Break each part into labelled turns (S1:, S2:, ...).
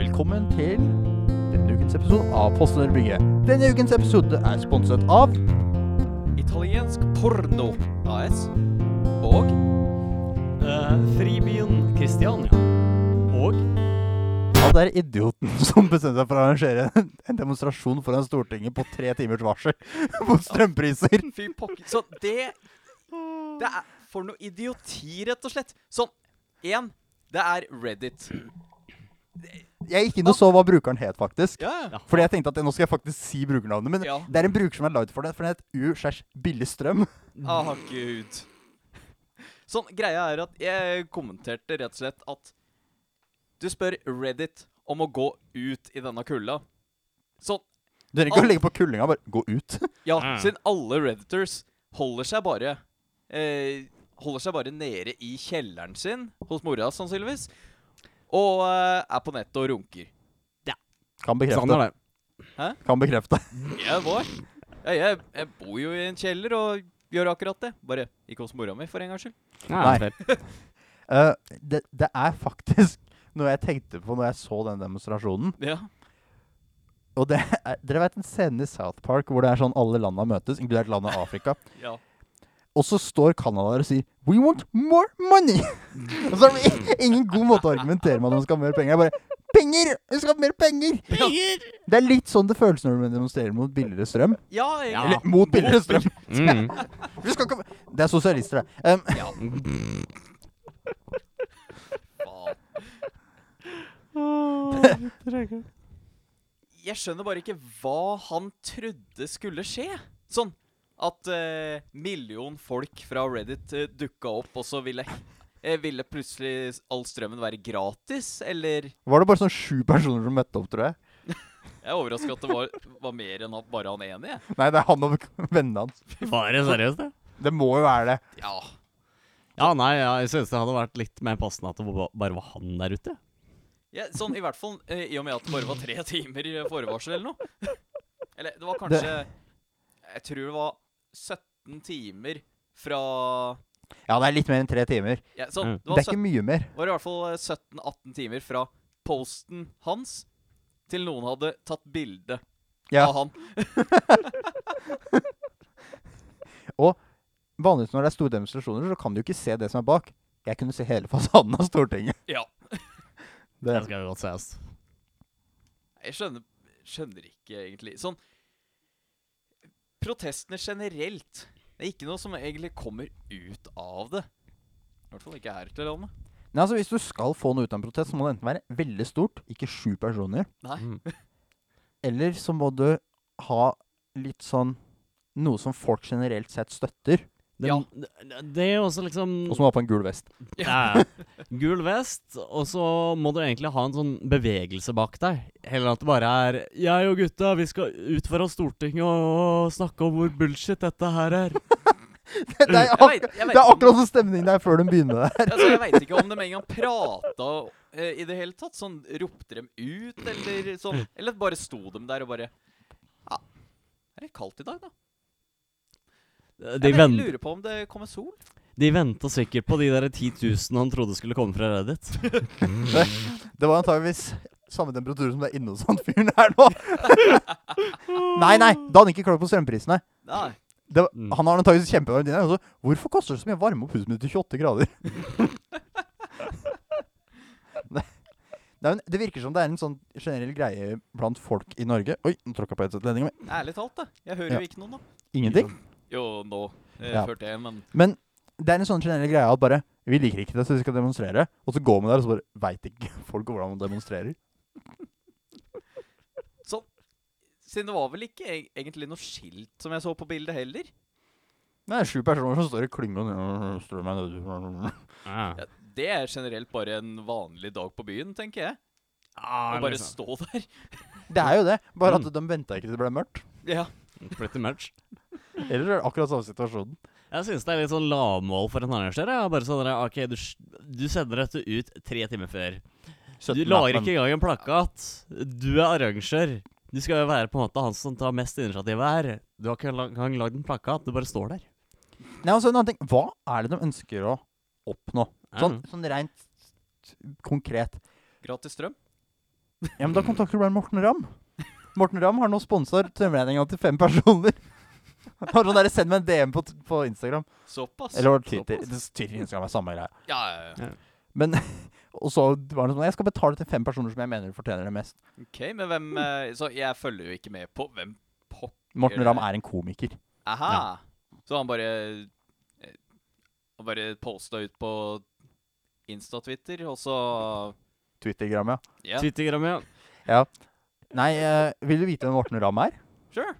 S1: til denne ukens episode av Postnørbygget. Denne ukens episode er sponset av
S2: Italiensk Porno AS og
S3: Eh, Fribyen Kristiania. Og
S1: han der idioten som bestemte seg for å arrangere en- en demonstrasjon foran Stortinget på tre timers varsel mot strømpriser.
S2: Fy pokker. Så det Det er for noe idioti, rett og slett. Sånn, én, det er Reddit.
S1: Jeg gikk inn og så hva brukeren het, faktisk.
S2: Ja,
S1: Fordi jeg tenkte at nå skal jeg faktisk si brukernavnet. Men
S2: Ja.
S1: det er en bruker som er lagd for det, for den het u-billigstrøm.
S2: Ah, gud. Sånn, greia er at jeg kommenterte rett og slett at du spør Reddit om å gå ut i denne kulda. Sånn,
S1: Du trenger ikke å legge på kullinga, bare gå ut.
S2: ja,
S3: Mm.
S2: siden alle redditors holder seg bare eh, Holder seg bare nede i kjelleren sin, hos mora sannsynligvis, og eh, er på nettet og runker.
S1: Kan
S4: Sånn
S1: bekrefte.
S4: er det.
S1: Kan bekrefte.
S2: Jeg var. Ja, jeg, jeg bor jo i en kjeller og gjør akkurat det. Bare ikke hos mora mi, for en gangs skyld.
S4: Ja,
S1: Nei.
S4: fair.
S1: Eh, det, det er faktisk noe jeg tenkte på når jeg så den demonstrasjonen.
S2: Ja.
S1: Og det er, Dere vet den scenen i South Park hvor det er sånn alle landa møtes, inkludert landet Afrika.
S2: ja.
S1: Og så står Canada der og sier 'We want more money'! og så er det i- ingen god måte å argumentere med at man skal ha mer penger. Jeg bare 'Penger! Vi skal ha mer penger!' Det er litt sånn det føles når du demonstrerer mot billigere strøm.
S2: Ja,
S1: Eller
S2: egentlig.
S1: mot billigere strøm!
S4: Mm.
S1: Vi skal ikke Det er sosialister, det. Um,
S2: Ja. Faen. Jeg skjønner bare ikke hva han trodde skulle skje. Sånn at eh, million folk fra Reddit eh, dukka opp, og så ville, eh, ville plutselig s- all strømmen være gratis, eller
S1: var det bare sånn sju personer som møtte opp, tror jeg?
S2: Jeg er overraska at det var, var mer enn han- bare han ene, jeg.
S1: Nei, det er han og vennene hans.
S4: Var det seriøst, det?
S1: Det må jo være det.
S2: Ja.
S4: Ja, nei, ja, jeg synes det hadde vært litt mer passende at det ba- bare var han der ute.
S2: Ja, sånn i hvert fall eh, i og med at det bare var tre timer i forvarsel eller noe. Eller det var kanskje Jeg tror det var 17 timer fra
S1: Ja, det er litt mer enn tre timer.
S2: ja, sånn,
S4: Mm.
S2: Det
S1: Det
S2: var,
S1: er ikke
S2: 17,
S1: mye mer.
S2: var i hvert fall eh, 17-18 timer fra posten hans til noen hadde tatt bilde
S1: Ja.
S2: av han.
S1: Vanligvis når det er store demonstrasjoner, så kan du jo ikke se det som er bak. Jeg kunne se hele fasaden av Stortinget.
S2: Ja.
S1: Det,
S4: Det skal vi godt se, ass.
S2: Jeg skjønner, skjønner ikke egentlig Sånn Protestene generelt. Det er ikke noe som egentlig kommer ut av det. I hvert fall ikke her til landet.
S1: Nei, altså Hvis du skal få noe ut av en protest, så må det enten være veldig stort, ikke sju personer,
S2: Nei.
S4: Mm.
S1: eller så må du ha litt sånn noe som folk generelt sett støtter,
S4: Det,
S2: Ja.
S4: det, det er jo også liksom
S1: og som har på en gul vest.
S4: ja. Gul vest, og så må du egentlig ha en sånn bevegelse bak deg. Heller at det bare er 'Jeg og gutta, vi skal ut foran Stortinget og, og snakke om hvor bullshit dette her er'.
S1: det, er
S2: Jeg vet-
S1: akkurat,
S2: jeg vet
S1: det er
S2: ikke om-
S1: akkurat sånn stemning der før de begynner med det.
S2: Altså, jeg veit ikke om de en gang prata eh, i det hele tatt. Sånn, Ropte dem ut, eller sånn? Eller bare sto dem der og bare Ja, er det kaldt i dag, da?
S4: De,
S2: jeg
S4: vent,
S2: lurer på om det kommer sol.
S4: de venta sikkert på de der 10 000 han trodde skulle komme fra Reddit.
S1: Det var antageligvis samme temperatur som det er inne hos han fyren her nå. nei, nei, da hadde han ikke klart på strømprisene.
S2: Nei.
S1: Det var,
S4: Mm.
S1: Han har antageligvis kjempevarm dine. Altså, hvorfor koster det så mye å varme opp huset mitt til 28 grader? det, det, er en, det virker som det er en sånn generell greie blant folk i Norge. Oi, nå tråkka jeg på headset-ledninga mi.
S2: Ærlig talt, da. Jeg hører
S1: Ja.
S2: jo ikke noen, da.
S1: Ingenting.
S2: Jo, nå eh,
S1: Ja.
S2: hørte jeg, men
S1: Men det er en sånn generell greie at bare Vi liker ikke det, så vi skal demonstrere. Og så går man der, og så bare veit ikke folk hvordan man demonstrerer.
S2: Sånn. Siden det var vel ikke e egentlig noe skilt som jeg så på bildet heller.
S1: Det er sju personer som står i klynge og strør meg nedover.
S4: Ja.
S2: Ja, det er generelt bare en vanlig dag på byen, tenker jeg.
S4: Ah,
S2: Å bare
S4: liksom.
S2: stå der.
S1: Det er jo det, bare at de venta ikke til det ble mørkt.
S2: Ja.
S4: Pretty much.
S1: Ellers er det akkurat samme situasjonen.
S4: Jeg synes det er litt sånn lavmål for en arrangør. jeg. Bare sånn der, ok, du, s- du sender dette ut tre timer før. Du
S1: 17
S4: lager
S1: Batman.
S4: ikke engang en plakat. Du er arrangør. Du skal jo være på en måte han som tar mest initiativ her. Du har ikke engang lagd en plakat, du bare står der.
S1: Nei, altså en annen ting. Hva er det de ønsker å oppnå? Sånn,
S4: Ja.
S1: sånn rent konkret.
S2: Gratis strøm.
S1: Ja, men da kontakter du bare Morten Ramm. Morten Ramm har nå sponsa tømmerregninga til fem personer. Har sånn derre Send meg en DM på, t- på Instagram.
S2: Såpass.
S1: Eller var det Twitter?
S2: Såpass.
S1: Det- Twitter Instagram er samme greia.
S2: Ja, ja, ja.
S1: Men Og så var det sånn Jeg skal betale til fem personer som jeg mener fortjener det mest.
S2: OK, men hvem eh, Så jeg følger jo ikke med på hvem pop...
S1: Morten
S2: Gjør det.
S1: Ramm er en komiker.
S2: Aha! Så han bare eh, Han bare posta ut på Insta-Twitter, og så
S1: Twittergram, ja.
S2: Ja,
S4: Twittergram, ja.
S1: Nei, eh, vil du vite hvem Morten Ramm er?
S2: sure.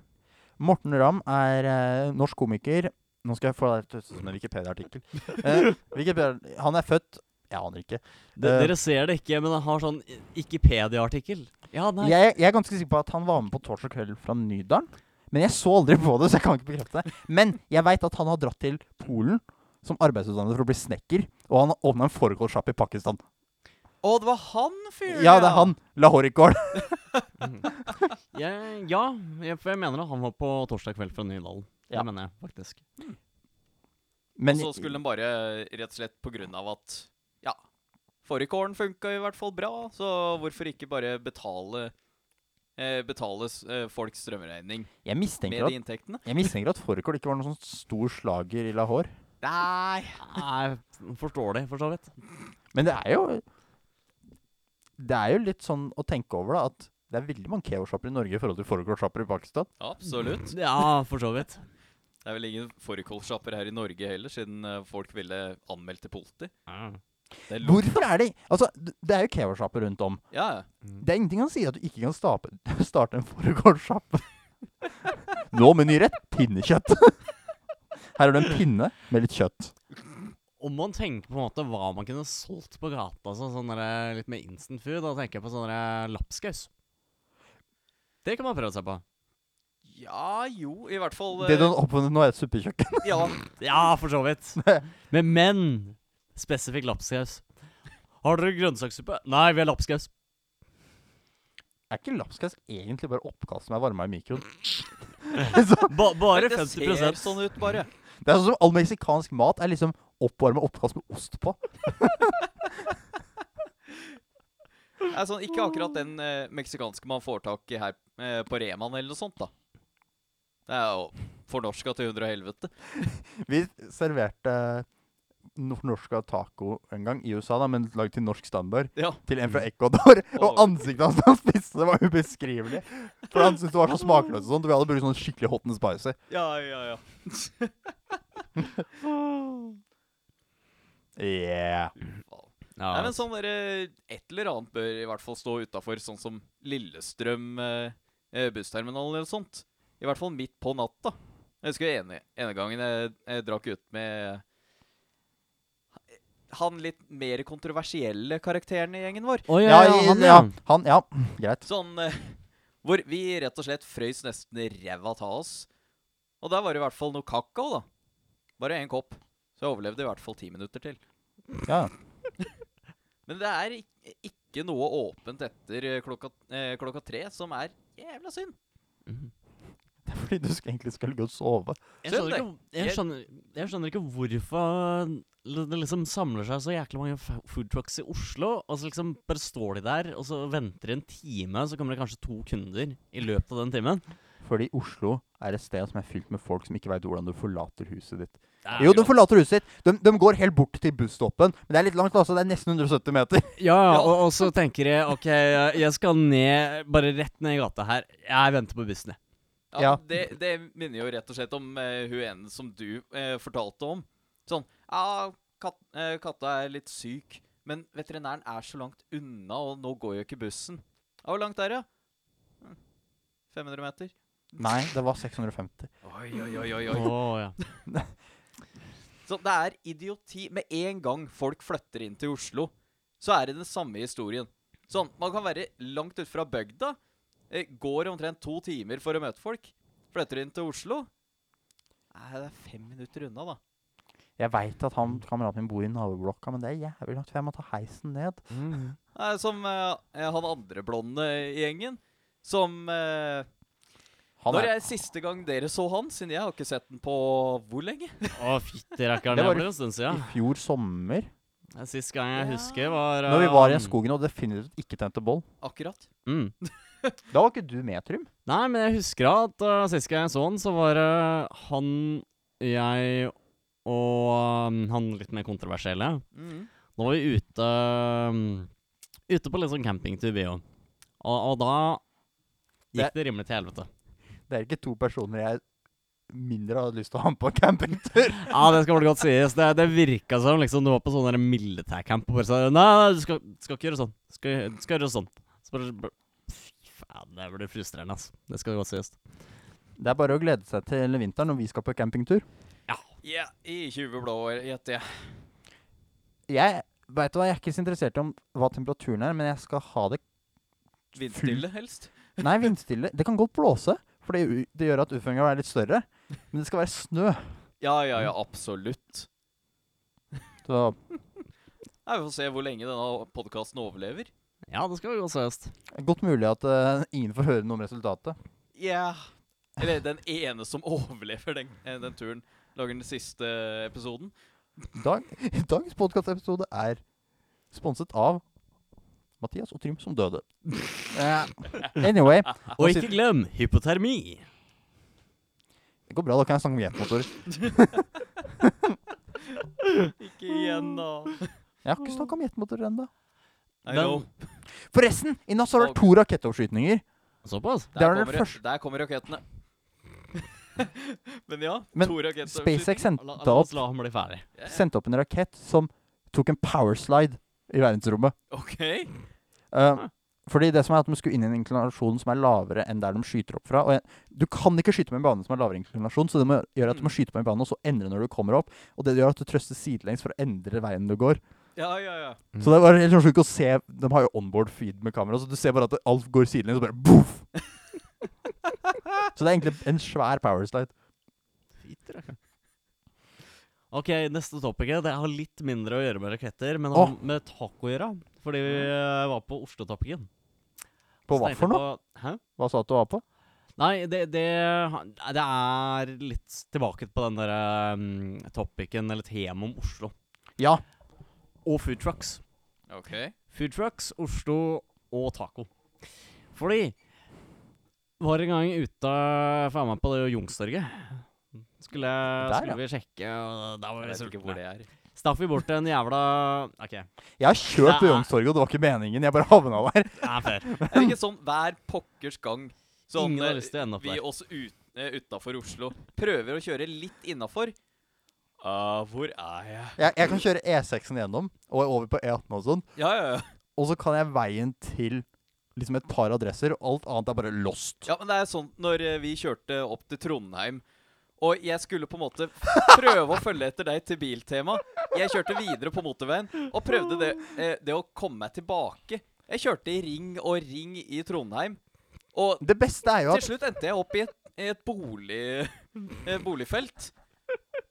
S1: Morten Ramm er eh, norsk komiker. Nå skal jeg få deg til å høres ut som en Wikipedia-artikkel. Eh, Wikipedia, han er født Jeg aner ikke.
S4: De,
S1: Eh,
S4: dere ser det ikke, men jeg har sånn Wikipedia-artikkel. Ja, nei.
S1: Jeg, jeg er ganske sikker på at han var med på Torsdag kveld fra Nydalen. Men jeg så aldri på det, så jeg kan ikke bekrefte det. Men jeg veit at han har dratt til Polen som arbeidsutdannet for å bli snekker. Og han har åpna en fårikålsjappe i Pakistan.
S2: Å, det var han fyren,
S1: Ja, det er han. Lahorikål.
S4: Jeg, ja, jeg, for jeg mener at han var på torsdag kveld fra Nydalen.
S1: Ja.
S4: Det mener jeg faktisk.
S1: Men
S2: Og så skulle den bare rett og slett på grunn av at Ja, fårikålen funka i hvert fall bra, så hvorfor ikke bare betale eh, Betale s- eh, folks strømregning
S1: jeg
S2: med
S1: mistenker
S2: de
S1: at,
S2: inntektene?
S1: jeg mistenker at fårikål ikke var noen sånn stor slager i Lahore.
S2: Nei
S4: Jeg forstår det, for så vidt.
S1: Men det er jo Det er jo litt sånn å tenke over, da, at det er veldig mange keosjapper i Norge i forhold til fårikålsjapper i Pakistan.
S2: Absolutt.
S4: Ja, for så vidt.
S2: Det er vel ingen fårikålsjapper her i Norge heller, siden eh, folk ville anmeldt til politi. Det er lo-
S1: Hvorfor er det Altså, d- det er jo keosjapper rundt om.
S2: Ja, ja.
S1: Det er ingenting han sier at du ikke kan stape, starte en fårikålsjappe. Nå med ny rett pinnekjøtt. Her har du en pinne med litt kjøtt.
S4: Om man tenker på en måte hva man kunne solgt på gata, så, sånn derre litt med instant food, da tenker jeg på sånn derre lapskaus. Det kan man prøve seg på.
S2: ja, jo, i hvert fall
S1: Det
S2: eh,
S1: du har oppfunnet nå, er et suppekjøkken.
S2: Ja,
S4: Ja, for så vidt. Men, men spesifikk lapskaus. Har dere grønnsakssuppe? Nei, vi har lapskaus.
S1: Er ikke lapskaus egentlig bare oppkast som er varma i mikroen?
S4: Ba, bare
S2: det
S4: 50
S2: ser sånn ut, bare.
S1: Det er sånn som all meksikansk mat er liksom oppvarma oppkast med ost på.
S2: Det er sånn, ikke akkurat den eh, meksikanske man får tak i her eh, på Reman eller noe sånt, da. Det er jo fornorska til hundre og helvete.
S1: Vi serverte nor- norska taco en gang i USA, da, men lagd til norsk standard.
S2: Ja.
S1: Til en fra Ecuador. Og
S2: Åh.
S1: ansiktet hans da han spiste, det var ubeskrivelig. For han syntes det var så smakløst og sånt. og Vi hadde brukt sånn skikkelig hot and spicy.
S2: Ja, ja, ja.
S1: Yeah.
S2: Nei,
S4: Ja.
S2: men sånn der, eh, Et eller annet bør i hvert fall stå utafor, sånn som Lillestrøm eh, eh, bussterminal eller sånt. I hvert fall midt på natta. Jeg husker ene, ene gangen jeg, jeg drakk ut med eh, han litt mer kontroversielle karakteren i gjengen vår.
S4: Å,
S1: Ja, i-
S4: han,
S1: ja. Han, ja. Greit.
S2: Sånn eh, hvor vi rett og slett frøys nesten i ræva av oss. Og der var det i hvert fall noe kakao, da. Bare én kopp. Så jeg overlevde i hvert fall ti minutter til.
S1: Ja.
S2: Men det er ik- ikke noe åpent etter eh, klokka, eh, klokka tre, som er jævla synd.
S1: Det er fordi du sk- egentlig skulle gå og sove.
S4: Jeg skjønner, ikke, jeg, skjønner, jeg skjønner ikke hvorfor l- det liksom samler seg så jækla mange fa- food trucks i Oslo, og så liksom bare står de der, og så venter de en time, så kommer det kanskje to kunder i løpet av den timen.
S1: Fordi Oslo er et sted som er fylt med folk som ikke veit hvordan du forlater huset ditt.
S4: Det er
S1: Jo, de
S4: jo-
S1: forlater huset sitt. De, de går helt bort til busstoppen. Men det er litt langt, altså. Det er nesten 170 meter.
S4: Ja, ja, og, og så tenker jeg OK, jeg jeg skal ned, bare rett ned i gata her. Jeg venter på bussen, jeg.
S2: Ja,
S1: Ja.
S2: Det, det minner jo rett og slett om eh, hun ene som du eh, fortalte om. Sånn Ja, kat, eh, katta er litt syk, men veterinæren er så langt unna, og nå går jo ikke bussen. Ja, hvor langt er det? ja? Hm, 500 meter?
S1: Nei, det var 650.
S2: Oi, oi, oi, oi,
S4: Å
S2: oi.
S4: ja.
S2: Så det er idioti. Med en gang folk flytter inn til Oslo, så er det den samme historien. Sånn, Man kan være langt ut fra bygda, eh, går omtrent to timer for å møte folk. Flytter inn til Oslo Nei, det er fem minutter unna, da.
S1: Jeg veit at han kameraten min bor i naboblokka, men det er jævlig langt, for jeg må ta heisen ned.
S2: Nei, som eh, han andre blonde i gjengen. Som eh,
S1: Han
S2: Når
S1: er,
S2: er siste gang dere så han? Siden jeg har ikke sett den på hvor lenge?
S4: Å, fytti rakkeren.
S1: Det
S4: Det
S1: var-
S4: ble en stund
S1: I
S4: siden.
S1: fjor sommer
S4: Sist gang jeg
S2: Ja.
S4: husker, var
S1: Når vi var i
S4: um,
S1: skogen og definitivt ikke tente boll.
S2: Akkurat.
S4: Mm.
S1: Da var ikke du med, Trym.
S4: Nei, men jeg husker at uh, sist gang jeg så han, så var det han, jeg og um, han litt mer kontroversielle.
S1: Mm.
S2: Mhm.
S4: Da var vi ute um, Ute på litt sånn campingtur, vi òg. Og, og da gikk
S1: Det-
S4: det rimelig til helvete.
S1: Det er ikke to personer jeg mindre hadde lyst til å ha med på campingtur.
S4: Ja, det skal vel godt sies. Det, det virka som liksom du var på sånn der militærcamp og bare sa Nei, nei, du skal, skal ikke gjøre sånn. Skal, skal gjøre sånn. Så bare, bare Fy faen, det blir frustrerende, altså. Det skal godt sies.
S1: Det er bare å glede seg til vinteren når vi skal på campingtur.
S2: Ja, i 20 blå, gjetter jeg.
S1: Jeg vet du hva, jeg er ikke så interessert i om hva temperaturen er, men jeg skal ha det
S2: Vindstille, helst.
S1: Nei, vindstille. Det kan godt blåse, for det, u- det gjør at utføringa er litt større. Men det skal være snø.
S2: Ja, ja, ja, absolutt.
S1: Så
S2: Nei, Vi får se hvor lenge denne podkasten overlever.
S4: Ja, det skal godt sies.
S1: godt mulig at eh, ingen får høre noe om resultatet.
S2: Ja. Eller den ene som overlever den, eh, den turen, lager den siste episoden.
S1: Dag, dagens podkastepisode er sponset av Mathias og Trym som døde. Eh, anyway,
S4: Og ikke glem hypotermi.
S1: det går bra. Da kan jeg snakke om jetmotorer.
S2: Ikke igjen, da.
S1: Jeg har ikke snakka om jetmotorer ennå.
S2: I know.
S1: Forresten, i natt så har det vært to rakettoppskytninger.
S4: Såpass?
S1: Det
S2: Der,
S1: er den
S2: kommer,
S1: første-
S2: der kommer rakettene. Men ja,
S1: Men
S2: to raketter.
S1: SpaceX
S4: La-
S1: sendte
S4: La, la
S1: opp,
S4: oss la ham bli ferdig.
S2: Ja,
S1: sendte opp en rakett som tok en powerslide i verdensrommet.
S2: OK.
S1: Eh, fordi det som er at de skulle inn i en inklinasjon som er lavere enn der de skyter opp fra. Og jeg, du kan ikke skyte med en bane som er lavere inklinasjon, så det må gjøre at du må
S4: Mm.
S1: skyte på en bane og så endre når du kommer opp. Og det gjør at du trøster sidelengs for å endre veien du går.
S2: Ja, ja, ja.
S4: Mm.
S1: Så det var helt sånn sjukt å se De har jo onboard feed med kamera, så du ser bare at alt går sidelengs, og bare boff! så det er egentlig en svær powerslide.
S4: Ok, neste topic. eh. Det har litt mindre å gjøre med raketter, men
S1: Åh.
S4: har med taco å gjøre. Fordi vi eh, var på Oslo-topiken.
S1: På
S4: Så
S1: hva
S4: tenkte
S1: for
S4: jeg
S1: noe?
S4: på- Hæ?
S1: Hva sa du at du var på?
S4: Nei, det, det, det er litt tilbake på den derre um, topicen, eller temaet om Oslo.
S1: Ja.
S4: Og food trucks.
S2: OK.
S4: Food trucks, Oslo og taco. Fordi var en gang ute faen meg på det Youngstorget. Skulle,
S1: Der,
S4: skulle
S1: ja.
S4: vi sjekke, og da var
S2: Jeg
S4: vi
S2: vet ikke hvor
S4: sultne.
S2: det er.
S4: Staff vi bort til en jævla OK, det
S1: Jeg har kjørt på
S4: Ja.
S1: Youngstorget, og det var ikke meningen. Jeg bare havna der.
S4: er fair.
S2: Er det ikke sånn hver pokkers gang sånn,
S4: Ingen har
S2: eh,
S4: lyst til å ende opp
S2: vi
S4: der.
S2: oss ut, eh, utafor Oslo prøver å kjøre litt innafor? Ah, hvor er jeg?
S1: Jeg, jeg kan kjøre E6-en gjennom, og over på E18 og sånn.
S2: Ja, ja, ja.
S1: Og så kan jeg veien til liksom et par adresser, og alt annet er bare lost.
S2: Ja, men det er sånn når eh, vi kjørte opp til Trondheim, og jeg skulle på en måte prøve å følge etter deg til biltema. Jeg kjørte videre på motorveien og prøvde det, eh, det å komme meg tilbake. Jeg kjørte i ring og ring i Trondheim, og
S1: Det beste er jo
S2: til
S1: at
S2: slutt endte jeg opp i et, i et bolig, eh, boligfelt.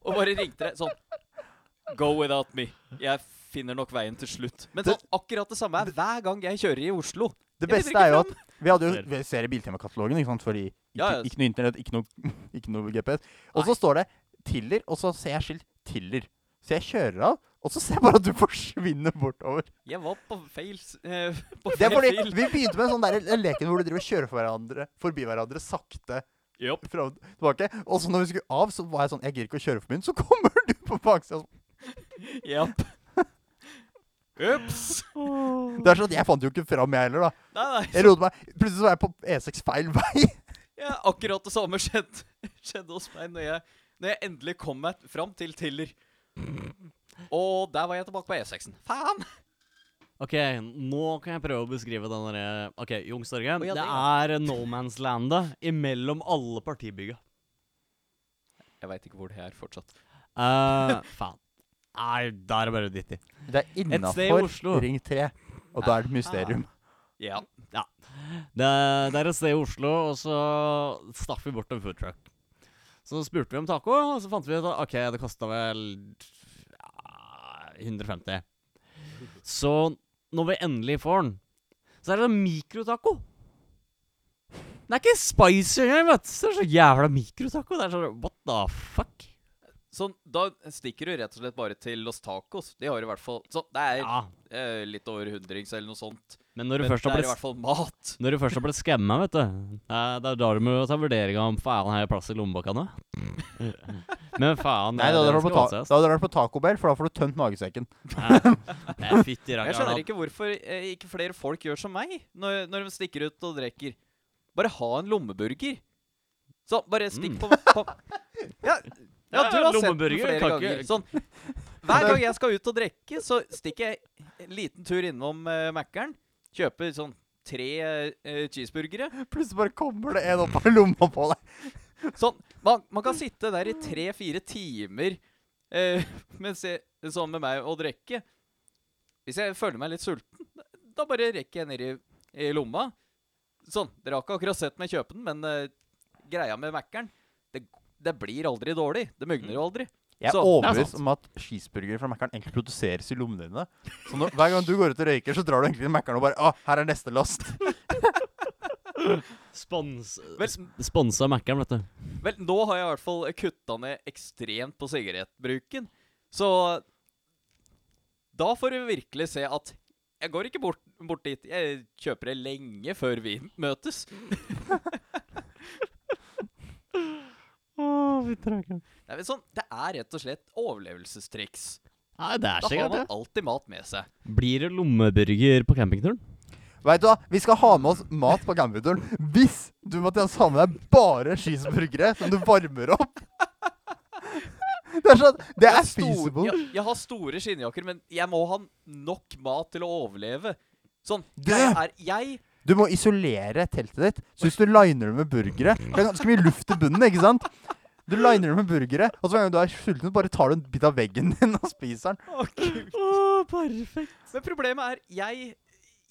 S2: Og bare ringte deg sånn Go without me. Jeg finner nok veien til slutt. Men
S1: Det-
S2: sånn, akkurat det samme er hver gang jeg kjører i Oslo.
S1: det
S2: Jeg
S1: beste
S2: finner ikke
S1: er jo
S2: fram.
S1: at vi hadde jo vi ser i Biltemakatalogen, ikke sant, fordi ikke,
S2: Ja, ja.
S1: ikke noe internett, ikke noe, ikke noe GPS. Og så står det Tiller, og så ser jeg skilt Tiller. Så jeg kjører av, og så ser jeg bare at du forsvinner bortover.
S2: Jeg var på feil s- eh, på
S1: Det er
S2: feil
S1: fordi
S2: fil.
S1: vi begynte med en sånn der den leken hvor du driver og kjører for hverandre, forbi hverandre sakte
S2: Jopp.
S1: fra og tilbake. Og så når vi skulle av, så var jeg sånn Jeg gir ikke å kjøre forbi den. Så kommer du på baksida. og sånn.
S2: Japp. Ups.
S1: Det er sånn at jeg fant jo ikke fram, jeg heller, da.
S2: Nei, nei.
S1: Jeg roet meg. Plutselig så var jeg på E6 feil vei.
S2: Ja, akkurat det samme skjedde, skjedde hos meg når jeg, når jeg endelig kom meg fram til Tiller. Og der var jeg tilbake på E6-en. Faen!
S4: OK, nå kan jeg prøve å beskrive den derre OK, Youngstorget.
S2: Å, ja,
S4: det,
S2: det,
S4: er no man's landet imellom alle partibygga.
S2: Jeg veit ikke hvor det er fortsatt.
S4: Eh, faen. Nei, da er det bare å dytte i.
S1: Det er
S4: sted i Oslo.
S1: innafor Ring 3. Og da er det et mysterium.
S2: Ja.
S4: Det, det er et sted i Oslo, og så stakk vi bort en food truck. Så spurte vi om taco, og så fant vi ut at OK, det kosta vel ja, 150. Så når vi endelig får den, så er det en mikrotaco. Det er ikke spicy engang, vet du. Så Det er så jævla mikrotaco. Det er sånn what the fuck?
S2: Så da stikker du rett og slett bare til Los Tacos. De har i hvert fall Så det er
S4: Ja,
S2: eh, litt over hundrings eller noe sånt.
S4: men når du
S2: Men
S4: først
S2: det
S4: har
S2: er i
S4: blitt
S2: hvert fall mat.
S4: når du først har blitt skamma, vet du eh, Det er da du må ta vurderinga om faen har jeg plass i lommebøkka nå. Men faen
S1: Nei, da
S4: det
S1: hadde
S4: er
S1: du vært på, ta
S4: skråsies.
S1: da hadde du vært på Taco Bell, for da får du tømt magesekken.
S4: Ja. Nei, Fytti
S2: Jeg skjønner
S4: rakkeren.
S2: ikke hvorfor eh, ikke flere folk gjør som meg når, når de stikker ut og drikker. Bare ha en lommeburger. Så bare stikk
S4: Mm.
S2: på, på ja, ja, du
S4: Ja,
S2: har sett den
S4: lommeburger,
S2: flere
S4: kan
S2: ganger.
S4: ikke-
S2: Sånn, hver gang jeg skal ut og drikke, så stikker jeg en liten tur innom uh, Mækkern. Kjøper sånn tre eh, cheeseburgere.
S1: Plutselig bare kommer det en opp av lomma på deg.
S2: Sånn, man, man kan sitte der i tre-fire timer eh, mens jeg, sånn med meg og drikke. Hvis jeg føler meg litt sulten, da bare rekker jeg ned i, i lomma. Sånn, Dere har ikke akkurat sett meg kjøpe den, men eh, greia med Mækkern det, det blir aldri dårlig. Det mugner jo aldri.
S1: Jeg er
S2: Så, det er
S1: overbevist
S2: sant.
S1: om at cheeseburgere fra Mækkern egentlig produseres i lommene dine. Så når, hver gang du går ut og røyker, så drar du egentlig til Mækkern og bare Å, her er neste last.
S4: Spons,
S2: Vel-
S4: sp- sponsa Mækkern, vet du.
S2: Vel, nå har jeg i hvert fall kutta ned ekstremt på sigarettbruken. Så da får du virkelig se at jeg går ikke bort, bort dit. Jeg kjøper det lenge før vi møtes. Det er, vel sånn, det er rett og slett overlevelsestriks.
S4: Nei, det
S2: Da
S4: er
S2: har
S4: sikkert det.
S2: man alltid mat med seg.
S4: Blir det lommeburger på campingturen?
S1: Vet du hva, vi skal ha med oss mat på campingturen hvis du Mathias, har med deg bare cheeseburgere som du varmer opp. Det er sånn Det
S2: Jeg
S1: er
S2: har stor-
S1: feasible.
S2: Jeg, jeg har store skinnjakker, men jeg må ha nok mat til å overleve. Sånn,
S1: Det-
S2: jeg er jeg
S1: Du må isolere teltet ditt. Så hvis du liner det med burgere Det er ganske mye luft i bunnen, ikke sant? Du liner det med burgere, og så hver gang du er sulten, bare tar du en bit av veggen din og spiser den.
S2: Å, Gud.
S4: perfekt.
S2: Men problemet er jeg,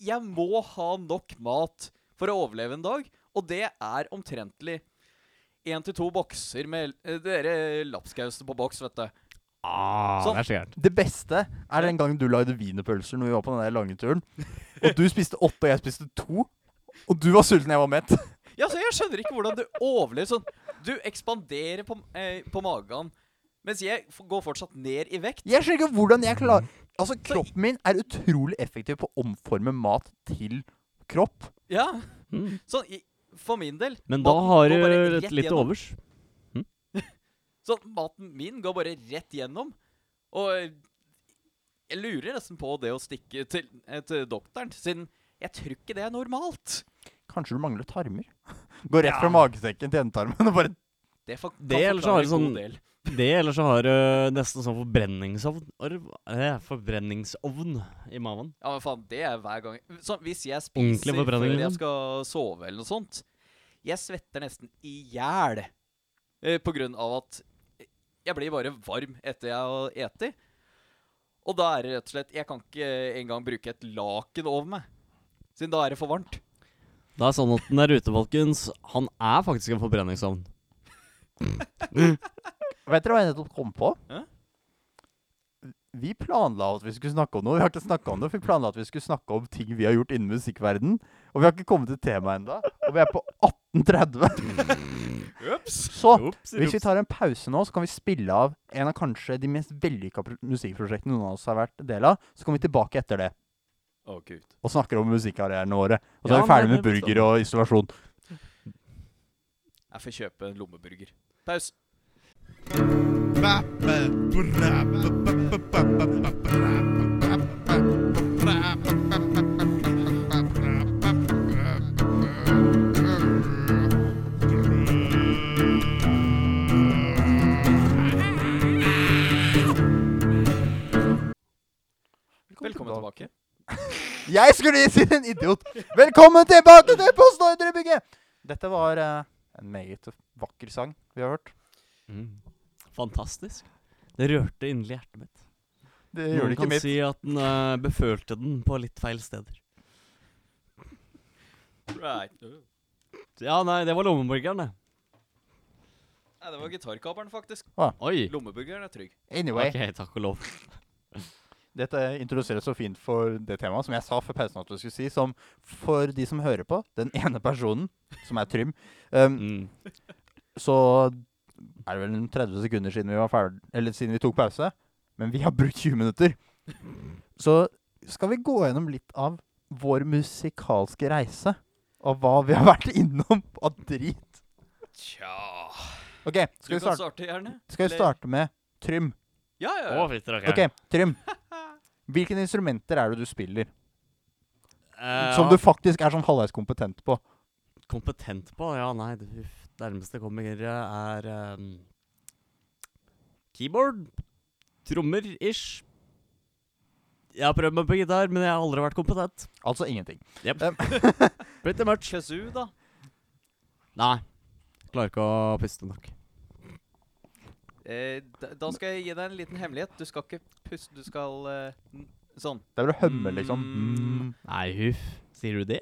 S2: jeg må ha nok mat for å overleve en dag, og det er omtrentlig én til to bokser med eh, dere lapskauser på boks, vet du.
S4: Ah,
S2: Sånn.
S4: Det er så gærent.
S1: Det beste er den gangen du lagde wienerpølser når vi var på den der lange turen. Og du spiste åtte, og jeg spiste to. Og du var sulten, jeg var mett.
S2: Ja, så Jeg skjønner ikke hvordan du overlever sånn. Du ekspanderer på, eh, på magen, mens jeg f går fortsatt ned i vekt.
S1: Jeg skjønner ikke hvordan jeg klarer Altså, kroppen min er utrolig effektiv på å omforme mat til kropp.
S2: Ja,
S4: Mm.
S2: sånn i, For min del
S4: Men da
S2: maten
S4: har
S2: går bare
S4: du
S2: rett
S4: litt, litt
S2: gjennom.
S4: overs.
S2: Sånn, maten min går bare rett gjennom. Og jeg lurer nesten på det å stikke til, eh, til doktoren, siden jeg tror ikke det er normalt.
S1: Kanskje du mangler tarmer? Går rett fra magesekken til endetarmen og bare
S2: Det, for, kan
S4: Det, eller så
S2: forklare
S4: har du
S2: en god
S4: sånn-
S2: del.
S4: Det, eller så har du nesten sånn forbrenningsovn Arv- eh, Forbrenningsovn i maven.
S2: Ja, men faen, det er hver gang Sånn, Hvis jeg
S4: Ordentlig
S2: spiser før
S4: forbrenning,
S2: jeg
S4: liksom.
S2: skal sove eller noe sånt Jeg svetter nesten i hjel eh, på grunn av at jeg blir bare varm etter jeg har eti. Og da er det rett og slett Jeg kan ikke engang bruke et laken over meg, siden da er det for varmt.
S4: Det er sånn at den der ute, folkens, han er faktisk en forbrenningsovn.
S1: Vet dere hva jeg nettopp kom på?
S2: Hæ?
S1: Vi planla at vi skulle snakke om noe. Vi har ikke snakket om det. for Vi planla at vi skulle snakke om ting vi har gjort innen musikkverden. Og vi har ikke kommet til temaet enda. Og vi er på 1830. Så hvis vi tar en pause nå, så kan vi spille av en av kanskje de mest vellykka pro- musikkprosjektene noen av oss har vært del av. Så kommer vi tilbake etter det
S2: Å, kult.
S1: og snakker om musikkarrierene våre. Og så er
S4: Ja,
S1: vi ferdig
S4: nei,
S1: med
S4: det
S1: burger og isolasjon.
S2: Jeg får kjøpe en lommeburger. Paus. Velkommen tilbake.
S1: Jeg skulle si en idiot. Velkommen tilbake til Postordrebygget! Dette var eh, en meget vakker sang vi har hørt.
S4: Mm. Fantastisk. Det rørte inderlig hjertet mitt.
S1: Det
S4: Noen kan si at den eh, befølte den på litt feil steder.
S2: Right. Nei,
S4: Ja, nei, det var lommeburgeren, det.
S2: det var gitarkabelen, faktisk.
S4: Oi.
S2: Lommeburgeren er trygg.
S1: Anyway,
S4: Ok, takk og lov.
S1: dette introduseres så fint for det temaet som jeg sa før pausen at du skulle si, som for de som hører på, den ene personen, som er Trym, um,
S4: Mm.
S1: så er det vel en 30 sekunder siden vi, var ferd eller siden vi tok pause, men vi har brukt 20 minutter. Så skal vi gå gjennom litt av vår musikalske reise, og hva vi har vært innom av drit.
S2: Tja
S1: Ok,
S2: Du
S1: skal vi
S2: kan
S1: starte,
S2: starte, gjerne.
S1: skal vi
S2: eller-
S1: starte med Trym.
S2: Ja, ja.
S3: Å,
S2: ja.
S3: fitter, ok.
S1: Ok, Trym. Hvilke instrumenter er det du spiller,
S4: Eh,
S1: som
S4: ja,
S1: du faktisk er sånn halvveis kompetent på?
S4: Kompetent på? Ja, nei, det huff, nærmeste kommer eh, er eh, Keyboard. Trommer-ish. Jeg har prøvd meg på gitar, men jeg har aldri vært kompetent.
S1: Altså ingenting.
S4: Pretty much.
S2: Kazoo, da.
S4: Nei. Klarer ikke å puste nok.
S2: Eh, da. Da skal jeg gi deg en liten hemmelighet. Du skal ikke puste, du skal eh, n- Sånn.
S1: Det er vel å hømme, liksom. Mm.
S2: Mm.
S4: Nei, huff. Sier du det?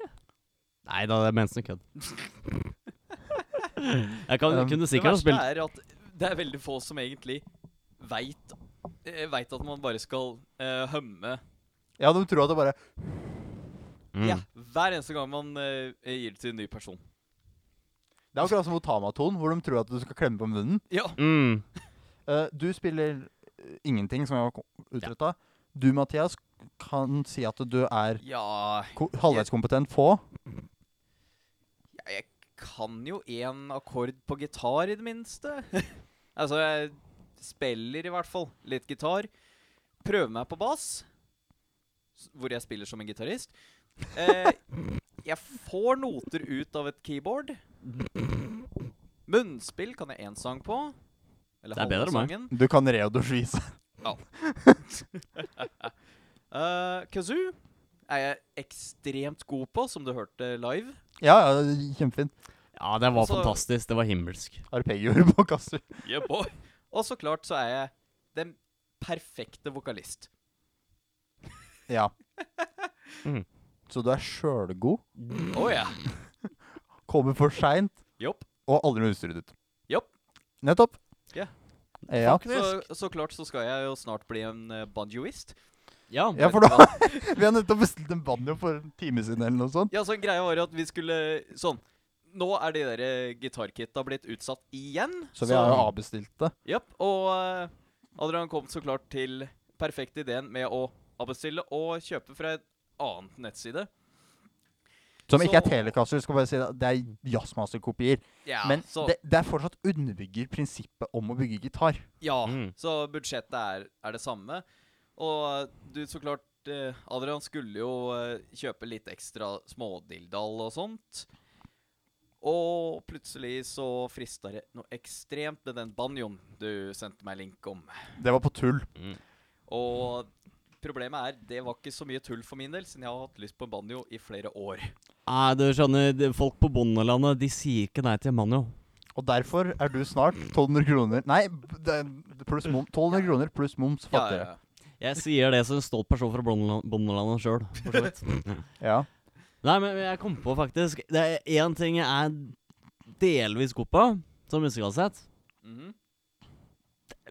S4: Nei da, det er mensen kødd. jeg kan,
S1: Um,
S4: kunne
S2: Det
S4: sikkert ha
S2: verste
S4: spilt
S2: er at det er veldig få som egentlig veit eh, Veit at man bare skal eh, hømme
S1: Ja, de tror at det bare
S4: mm.
S2: Ja, hver eneste gang man eh, gir det til en ny person.
S1: Det er akkurat som Otama-tonen, hvor de tror at du skal klemme på munnen.
S2: Ja.
S4: Mm.
S1: Eh, du spiller eh, ingenting, som jeg var utretta. Du, Mathias, kan si at du er
S2: Ja
S1: ko halvveis kompetent på
S2: Jeg kan jo én akkord på gitar, i det minste. altså, jeg spiller i hvert fall litt gitar. Prøver meg på bass, s- hvor jeg spiller som en gitarist. Eh, jeg får noter ut av et keyboard. Munnspill kan jeg én sang på. Eller
S4: Det er bedre enn
S2: halve
S4: meg.
S2: sangen.
S1: Du kan re og dusjvise.
S2: Eh, kazoo er jeg ekstremt god på, som du hørte live.
S1: ja, ja, kjempefint.
S4: Ja, det var
S2: Altså-
S4: fantastisk. Det var himmelsk.
S1: Arpeggioer på kasser.
S2: Yeah, boy. Og så klart så er jeg den perfekte vokalist.
S1: Ja. Mm.
S4: Mhm.
S1: Så du er sjølgod,
S2: Å ja.
S1: kommer for seint
S2: Jopp.
S1: og aldri med utstyret ditt.
S2: Jopp.
S1: Nettopp.
S2: Ja.
S1: Ja.
S2: Så, så klart så skal jeg jo snart bli en eh, banjoist.
S4: Ja.
S1: ja, for da Vi har nettopp bestilt en banjo for en time siden eller noe sånt.
S2: Ja, så greia var jo at vi skulle Sånn. Nå er de der eh, gitarkitta blitt utsatt igjen.
S1: Så vi har jo avbestilt det.
S2: Japp. Og eh, Adrian kom så klart til perfekt ideen med å avbestille og kjøpe fra et annet nettside.
S1: Som ikke er
S2: Så-
S1: telekasser. Skal bare si det, det er jazzmasterkopier.
S2: Ja,
S1: Men
S2: så,
S1: det, det er fortsatt underbygger prinsippet om å bygge gitar.
S2: ja,
S4: Mm.
S2: så budsjettet er, er det samme. Og du, så klart eh, Adrian skulle jo eh, kjøpe litt ekstra smådildal og sånt. Og plutselig så frista det noe ekstremt med den banjoen du sendte meg link om.
S1: Det var på tull.
S2: Og problemet er, det var ikke så mye tull for min del, siden jeg har hatt lyst på en banjo i flere år.
S4: Nei, du skjønner, de- folk på bondelandet de sier ikke nei til en manjo.
S1: Og derfor er du snart 1200 kroner Nei, b- det er pluss mom, 1200 kroner pluss moms fattigere.
S2: ja.
S4: Jeg sier det som en stolt person fra bondeland- bondelandet sjøl, for så vidt.
S1: Ja.
S4: Nei, men jeg kom på faktisk Det er én ting jeg er delvis god på, som musikalsk sett.
S2: Mhm.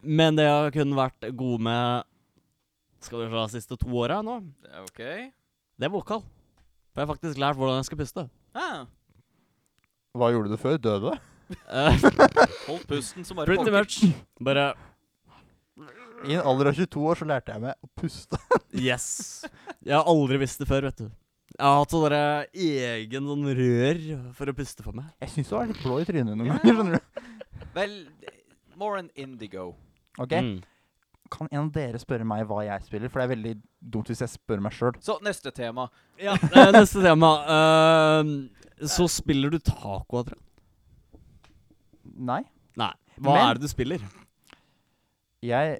S4: Men det jeg har kun vært god med Skal vi se, de siste to åra nå,
S2: Det er OK.
S4: det er vokal. For jeg har faktisk lært hvordan jeg skal puste.
S2: Ah,
S1: Hva gjorde du før? Døde?
S4: Eh,
S2: holdt pusten som bare
S4: pretty
S2: pokker.
S4: much. Bare
S1: I en alder av 22 år så lærte jeg meg å puste.
S4: Yes. Jeg har aldri visst det før, vet du. Jeg har hatt sånn derre egen sånn rør for å puste for meg.
S1: Jeg syns du var litt blå i trynet noen
S2: Ja.
S1: ganger. skjønner du?
S2: Vel, more an indigo.
S1: Ok,
S4: Mm.
S1: Kan en av dere spørre meg hva jeg spiller? For det er veldig dumt hvis jeg spør meg sjøl.
S2: Så neste tema.
S4: Ja, eh, neste tema. Eh, så spiller du taco, Adrian?
S1: Nei.
S4: Nei. Hva
S1: Men-
S4: er det du spiller?
S1: Jeg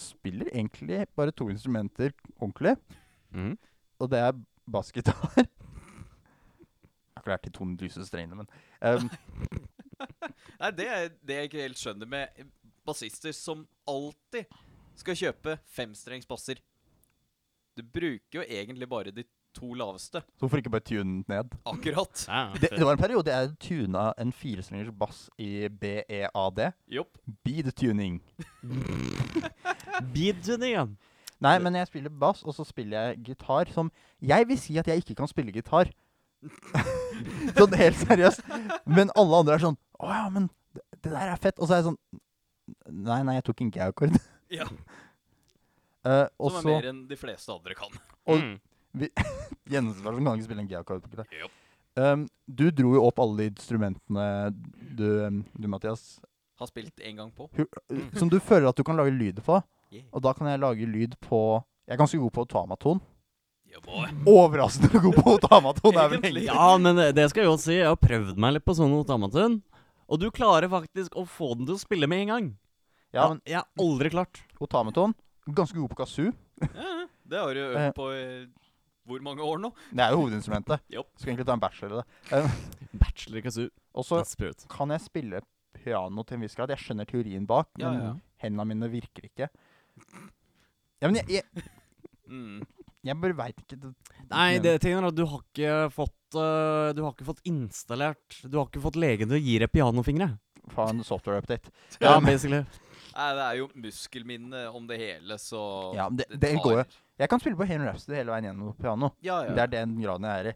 S1: spiller egentlig bare to instrumenter ordentlig,
S4: Mhm.
S1: og det er bassgitar. Jeg har ikke lært de to lyseste strengene, men ehm,
S2: Nei, det er det jeg ikke helt skjønner med bassister som alltid skal kjøpe femstrengsbasser. Du bruker jo egentlig bare de to laveste.
S1: så hvorfor ikke bare tune den ned?
S2: Akkurat.
S4: Ja,
S1: Det, det var en periode jeg tuna en firestrengers bass i E BEAD.
S2: Jopp.
S1: Bead tuning.
S4: Beattuning, ja.
S1: Nei, men jeg spiller bass, og så spiller jeg gitar som Jeg vil si at jeg ikke kan spille gitar. sånn helt seriøst. Men alle andre er sånn Å ja, men det, det der er fett. Og så er jeg sånn Nei, nei, jeg tok en g-akkord.
S2: Ja,
S1: Eh, og
S2: Som er
S1: så
S2: mer enn de fleste andre kan.
S1: Og-
S3: Mm.
S1: Gjennomsnittsversjonen kan ikke spille en g-akkord. på gitar.
S2: Jopp.
S1: Um, du dro jo opp alle de instrumentene du, um, du Mathias,
S2: Har spilt en gang på.
S1: hu- uh, som du føler at du kan lage lyder på.
S2: Mm. Yeah.
S1: Og da kan jeg lage lyd på Jeg er ganske god på tamaton.
S2: Ja, boy.
S1: Overraskende god på tamaton! er vel
S2: Egentlig.
S1: egentlig-
S4: Ja, men det, det skal jeg jo si. Jeg har prøvd meg litt på sånn notamatun. Og du klarer faktisk å få den til å spille med en gang.
S1: Ja, men
S4: jeg har aldri klart.
S1: otamaton Ganske god på kazoo.
S2: Ja, ja. det har du jo
S1: Eh.
S2: øvd på i hvor mange år nå?
S1: Det er jo hovedinstrumentet.
S2: Jopp.
S1: Skulle egentlig ta en bachelor i det.
S4: Bachelor i kazoo.
S1: Og så
S4: That's spirit.
S1: kan jeg spille piano til en viss grad. Jeg skjønner teorien bak, men
S2: Ja, ja.
S1: hendene mine virker ikke. Ja, men jeg, jeg,
S2: Mm.
S1: jeg bare veit ikke det.
S4: Nei, det tingen er at du har ikke fått øh, Du har ikke fått installert Du har ikke fått legen til å gi deg pianofingre.
S1: Faen, software update.
S4: Ja,
S1: Ja, men-
S4: basically.
S2: Nei, det er jo muskelminne om det hele, så
S1: Ja, men det, det går jo.
S2: tar-
S1: Jeg kan spille på Henry Rhapsody hele veien gjennom på piano.
S2: Ja, ja.
S1: Det er den graden jeg er i.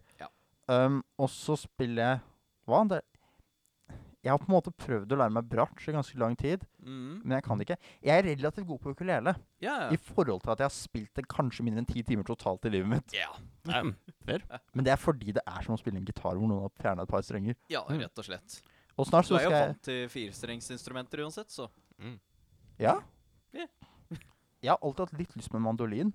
S2: Ja.
S1: Um, og så spiller jeg Hva? Det er, jeg har på en måte prøvd å lære meg bratsj i ganske lang tid,
S2: Mm.
S1: men jeg kan det ikke. Jeg er relativt god på ukulele
S2: Ja,
S1: i forhold til at jeg har spilt det kanskje mindre enn ti timer totalt i livet mitt.
S2: ja. ja.
S4: Nei, fair.
S1: Men det er fordi det er som å spille en gitar hvor noen har fjerna et par strenger.
S2: Ja,
S4: Mm.
S2: rett og slett.
S1: Og snart
S2: Du
S1: så
S2: er jo
S1: skal jeg
S2: vant til firestrengsinstrumenter uansett, så
S1: Ja.
S2: Ja.
S1: Jeg har alltid hatt litt lyst på en mandolin.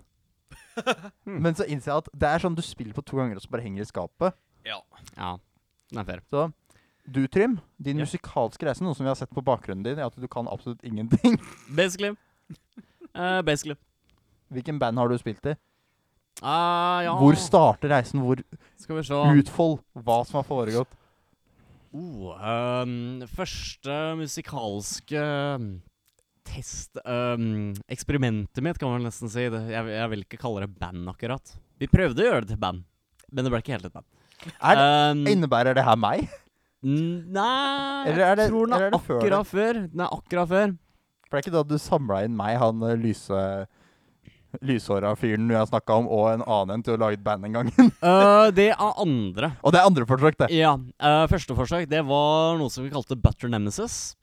S1: Men så innser jeg at det er sånn du spiller på to ganger og så bare henger i skapet.
S2: ja.
S4: Ja. Nei, fair.
S1: Så du, Trym, din
S4: Ja.
S1: musikalske reise, noe som vi har sett på bakgrunnen din, er at du kan absolutt ingenting.
S4: Basically. Eh, basically.
S1: Hvilken band har du spilt i?
S4: Ah, ja.
S1: Hvor starter reisen? Hvor
S4: Skal vi se.
S1: utfold? Hva som har foregått?
S4: Oh, ehm, første musikalske ehm, test ehm, Eksperimentet mitt, kan man nesten si. Det, jeg, jeg vil ikke kalle det band, akkurat. Vi prøvde å gjøre det til band, men det ble ikke helt et band.
S1: Er det,
S4: Ehm,
S1: innebærer det her meg?
S4: n- Nei,
S1: Eller er det-
S4: jeg tror den
S1: eller er
S4: er,
S1: det før
S4: akkurat før. Den er akkurat før.
S1: For det er ikke da du samla inn meg, han eh, lyse... Lyshåra fyren jeg snakka om, og en annen en til å lage et band en gang.
S4: Eh, det er andre.
S1: og det er andre forsøk, det.
S4: Ja. eh, første forsøk det var noe som vi kalte Butter Nemesis.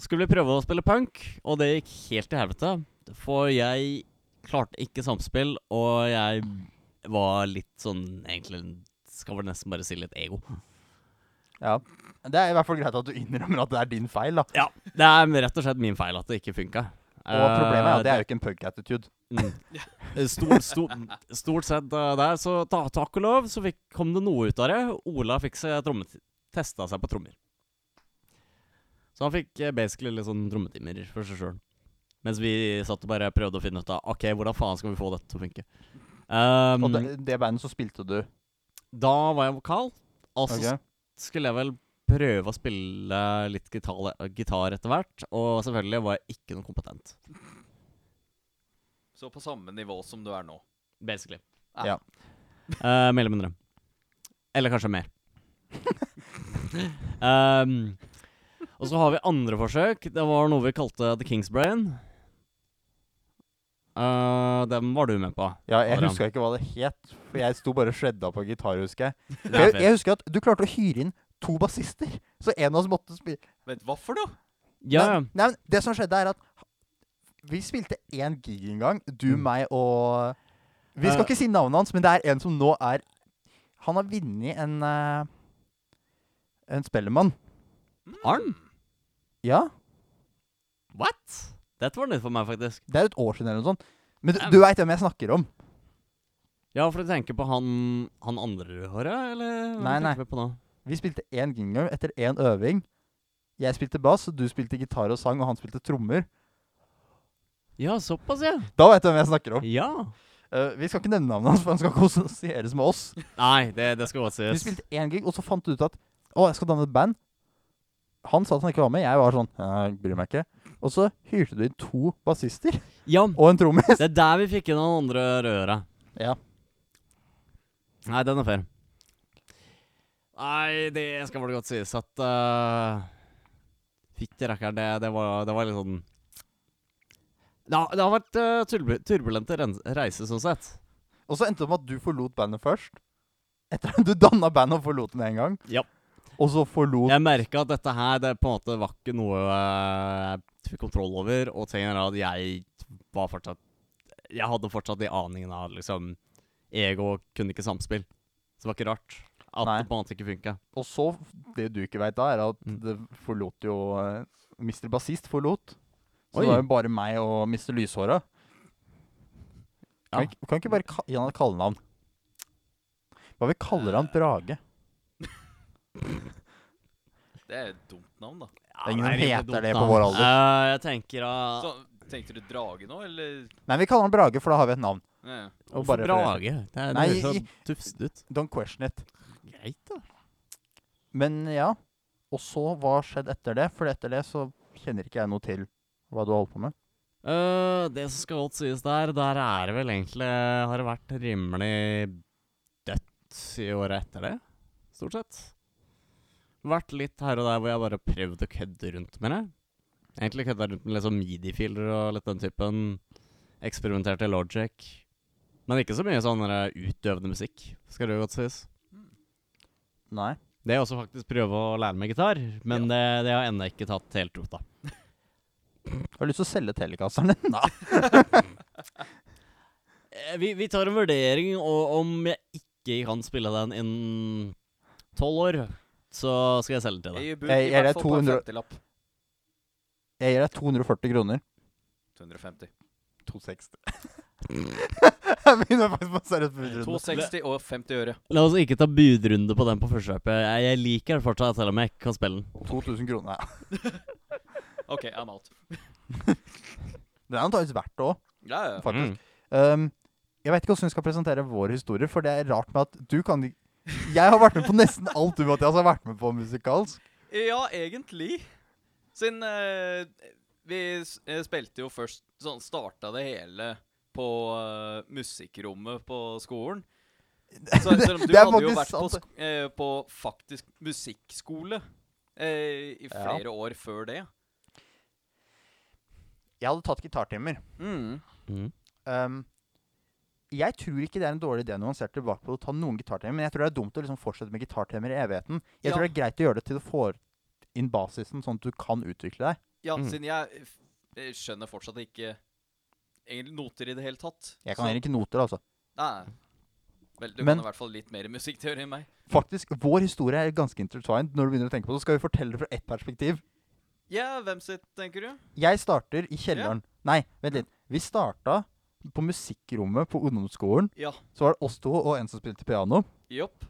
S4: Skulle vi prøve å spille punk, og det gikk helt til helvete. For jeg klarte ikke samspill, og jeg var litt sånn egentlig Skal vel nesten bare si litt ego.
S1: Ja. Det er i hvert fall greit at du innrømmer at det er din feil, da.
S4: Ja, Det er rett og slett min feil at det ikke funka.
S1: Og
S4: Eh,
S1: problemet er at det er jo ikke en punk-attitude.
S4: Mm. Stort, stort, stort sett eh, der, så ta, takk og lov, så fikk, kom det noe ut av det. Ola fikk seg trommet- testa seg på trommer. Så han fikk eh, basically litt sånn trommetimer for seg sjøl. Mens vi satt og bare prøvde å finne ut av OK, hvordan faen skal vi få dette til å funke. Um,
S1: Og det, det bandet så spilte du.
S4: Da var jeg vokal, og så
S1: ok?
S4: skulle jeg vel prøve å spille litt gitar, gitar etter hvert. Og selvfølgelig var jeg ikke noe kompetent.
S2: Så på samme nivå som du er nå.
S4: Basically.
S2: Ja.
S1: Ja.
S4: Eh, mer eller mindre. Eller kanskje mer. Ehm, og så har vi andre forsøk. Det var noe vi kalte The King's Brain. Eh, dem var du med på.
S1: Ja, jeg
S4: Adrian.
S1: huska ikke hva det het, for jeg sto bare og shredda på gitar, husker jeg.
S4: Det er
S1: jeg.
S4: fair.
S1: Jeg husker at du klarte å hyre inn to bassister, så en av oss måtte spille
S2: Vent, hva for noe?
S4: Ja, ja.
S1: Nei, nei, men det som skjedde, er at vi spilte én gig en gang, du,
S4: Mm.
S1: meg og Vi skal
S4: Eh.
S1: ikke si navnet hans, men det er en som nå er Han har vunnet en eh, En Spellemann.
S4: Arn?
S1: Ja?
S4: What? Dette var nytt for meg, faktisk.
S1: Det er et år siden eller noe sånt. Men du,
S4: Ja.
S1: du veit hvem jeg snakker om?
S4: Ja, for du tenker på han, han andre håret, eller? hva
S1: Nei, nei.
S4: tenker vi På nå?
S1: Vi spilte én gingham etter én øving. Jeg spilte bass, og du spilte gitar og sang, og han spilte trommer.
S4: Ja, såpass, ja.
S1: Da veit du hvem jeg snakker om.
S4: Ja.
S1: Eh, vi skal ikke nevne navnet hans, for han skal ikke assosieres med oss.
S4: Nei, det, det skal godt
S1: Vi
S4: sies.
S1: spilte én gig, og så fant du ut at å, jeg skal danne et band. Han sa at han ikke var med. Jeg var sånn jeg bryr meg ikke. Og så hyrte du inn to bassister
S4: Ja,
S1: og en trommis.
S4: Det er der vi fikk inn han andre røra.
S1: Ja.
S4: Nei, den er fair. Nei, det skal vel godt sies at uh, Fytti rakkeren, det, det, var- det var litt sånn Det har, det har vært eh, turbu turbulente ren- reiser, sånn sett.
S1: Og så endte det med at du forlot bandet først. Etter at du danna band og forlot det med en gang.
S4: Ja.
S1: Og så forlot
S4: Jeg merka at dette her det på en måte var ikke noe eh, jeg fikk kontroll over, og tingen er at jeg var fortsatt Jeg hadde fortsatt de aningene av liksom Ego kunne ikke samspill. Så det var ikke rart at
S1: Nei.
S4: det på en måte ikke funka.
S1: Og så, det du ikke veit da, er at
S4: Mm.
S1: det forlot jo eh, Mr. Bassist forlot. Så
S4: Oi.
S1: det var jo bare meg og Mr. Lyshåra.
S4: Ja.
S1: Kan, ikke- kan ikke bare ka gi han et kallenavn? Hva vi kaller han Brage?
S2: Det er et dumt navn, da.
S1: Det er ingen som heter det på vår alder.
S4: jeg tenker at
S2: Så, tenkte du drage nå, eller?
S1: Nei, vi kaller han Brage, for da har vi et navn.
S2: Ja.
S1: Og
S4: Hvorfor
S1: bare-
S4: Brage? Det, er- det
S1: Nei,
S4: høres
S1: i-
S4: så tufsete ut.
S1: Don't question it.
S4: Greit, da.
S1: Men ja. Og så, hva skjedde etter det? For etter det så kjenner ikke jeg noe til hva du har holdt på med.
S4: Eh, det som skal godt sies der, der er det vel egentlig Har det vært rimelig dødt i året etter det, stort sett. Vært litt her og der hvor jeg bare har prøvd å kødde rundt med det. Egentlig kødda rundt med litt sånn midi-filer og litt den typen. Eksperimenterte i logic. Men ikke så mye sånn der utøvende musikk, skal det jo godt sies.
S1: Nei.
S4: Det er også faktisk prøve å lære meg gitar, men det, det har jeg ennå ikke tatt helt rota.
S1: Jeg har lyst til å selge telekasteren din. Nei.
S4: Eh, Vi, vi tar en vurdering, og om jeg ikke kan spille den innen tolv år, så skal jeg selge den til deg.
S2: Jeg gir bud
S1: Jeg
S2: i
S1: gir deg
S2: hvert fall på
S1: 200
S2: en 50-lapp.
S1: Jeg gir deg 240 kroner.
S2: 250.
S1: 260. jeg begynner faktisk på seriøst budrunde.
S2: 260 og 50 øre.
S4: La oss ikke ta budrunde på den på første løpet. Jeg, jeg liker den fortsatt, selv om jeg ikke kan spille den.
S1: 2000 kroner. Ja.
S2: OK, I'm out.
S1: Det er antakeligvis verdt det òg,
S2: Ja, ja. Mm.
S1: faktisk. Um, jeg vet ikke hvordan vi skal presentere vår historie, for det er rart med at du kan ikke- Jeg har vært med på nesten alt du Mathias har vært med på musikalsk.
S2: Ja, egentlig. Siden eh, vi s- eh, spilte jo først Sånn starta det hele på eh, musikkrommet på skolen. Så, selv om du
S1: det er
S2: hadde jo
S1: faktisk
S2: vært på,
S1: sant,
S2: sk eh, på faktisk musikkskole eh, i
S1: Ja.
S2: flere år før det.
S1: Jeg hadde tatt gitartimer.
S2: Mm.
S4: Mm.
S1: Um, jeg tror ikke det er en dårlig idé når man ser tilbake på å ta noen gitartimer, men jeg tror det er dumt å liksom fortsette med gitartimer i evigheten. Jeg
S2: Ja.
S1: tror det er greit å gjøre det til du får inn basisen, sånn at du kan utvikle deg.
S2: Ja,
S4: Mm.
S2: siden jeg f- eh, skjønner fortsatt ikke egentlig noter i det hele tatt.
S1: Jeg kan egentlig ikke noter, altså.
S2: Nei. Vel, du
S1: Men-
S2: kan i hvert fall litt mer musikkteori enn meg.
S1: Faktisk, Vår historie er ganske intertwined. Når du begynner å tenke på det, så skal vi fortelle det fra ett perspektiv.
S2: Ja, hvem sitt, tenker du?
S1: Jeg starter i kjelleren. Nei, vent litt. Vi starta på musikkrommet på ungdomsskolen.
S2: Ja.
S1: Så var det oss to og en som spilte piano.
S2: Jopp.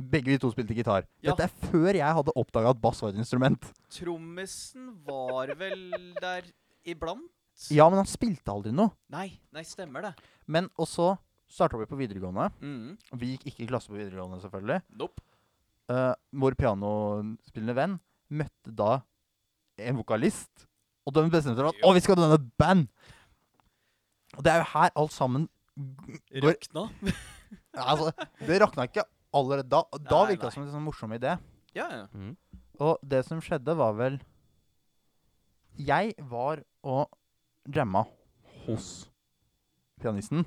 S1: Begge vi to spilte gitar.
S2: Ja.
S1: Dette er før jeg hadde oppdaga at bass var et instrument.
S2: Trommisen var vel der iblant?
S1: Ja, men han spilte aldri noe.
S2: Nei, nei, stemmer det.
S1: Men og så starta vi på videregående.
S2: Mm.
S1: Vi gikk ikke i klasse på videregående, selvfølgelig.
S2: Nope.
S1: Eh, vår pianospillende venn møtte da en vokalist, og de bestemte seg for at
S2: Ja.
S1: å, vi skal danne et band. Og det er jo her alt sammen går
S2: Røkna.
S1: Altså, det rakna ikke allerede da. og Da
S2: Nei,
S1: virka
S2: nei.
S1: det som en sånn morsom idé.
S2: Ja, ja.
S4: Mm.
S1: Og det som skjedde, var vel Jeg var og jamma hos pianisten.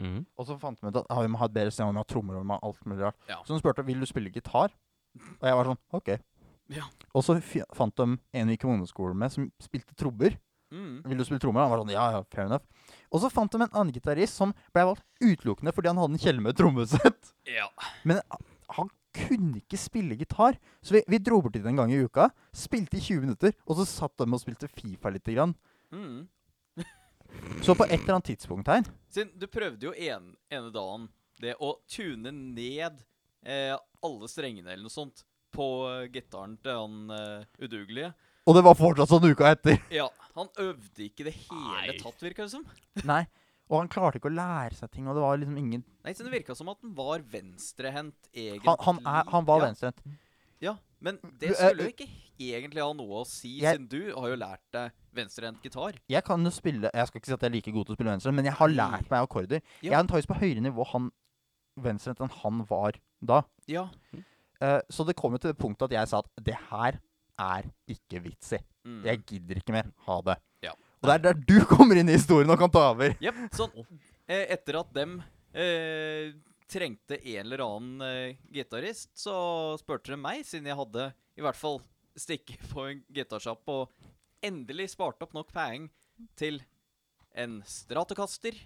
S4: Mm.
S1: Og så fant vi ut at ah, vi må ha et bedre sted, og vi må ha trommer og vi må ha alt mulig rart.
S2: Ja.
S1: Så hun spurte vil du spille gitar. Og jeg var sånn OK.
S2: Ja.
S1: Og så fi- fant de en vi gikk på ungdomsskolen med, som spilte trommer.
S2: Mm.
S1: Vil du spille trommer? Han var sånn, ja, ja, fair enough. Og så fant de en annen gitarist som ble valgt utelukkende fordi han hadde en kjelle med et trommesett.
S2: Ja.
S1: Men a- han kunne ikke spille gitar. Så vi, vi dro bort dit en gang i uka, spilte i 20 minutter, og så satt de og spilte Fifa lite grann.
S2: Mm.
S1: Så på et eller annet tidspunkt her
S2: Siden du prøvde jo en, ene dagen det å tune ned eh, alle strengene eller noe sånt på eh, gitaren til han eh, udugelige.
S1: Og det var fortsatt sånn uka etter.
S2: Ja, han øvde ikke det hele
S4: Nei.
S2: tatt, virka det som.
S1: Nei. Og han klarte ikke å lære seg ting, og det var liksom ingen
S2: Nei, så Det virka som at han var venstrehendt, egentlig.
S1: Han, han, er, han var
S2: ja,
S1: venstrehendt.
S2: Ja, men
S1: Du,
S2: det
S1: eh,
S2: skulle jo ikke egentlig ha noe å si,
S1: Jeg-
S2: siden du har jo lært deg venstrehendt gitar.
S1: Jeg kan jo spille Jeg skal ikke si at jeg er like god til å spille venstre, men jeg har lært meg akkorder.
S2: Ja.
S1: Jeg er antakeligvis på høyere nivå han venstrehendt enn han var da.
S2: Ja.
S1: Eh, så det kom jo til det punktet at jeg sa at det her er ikke vits i.
S2: Mm.
S1: Jeg gidder ikke mer. Ha det.
S2: Ja.
S1: Og det er der du kommer inn i historien og kan ta over.
S2: Jep, sånn eh, etter at dem eh, trengte en eller annen eh, gitarist, så spurte de meg, siden jeg hadde i hvert fall stikket på en gitarsjapp og endelig sparte opp nok penger til en Stratocaster,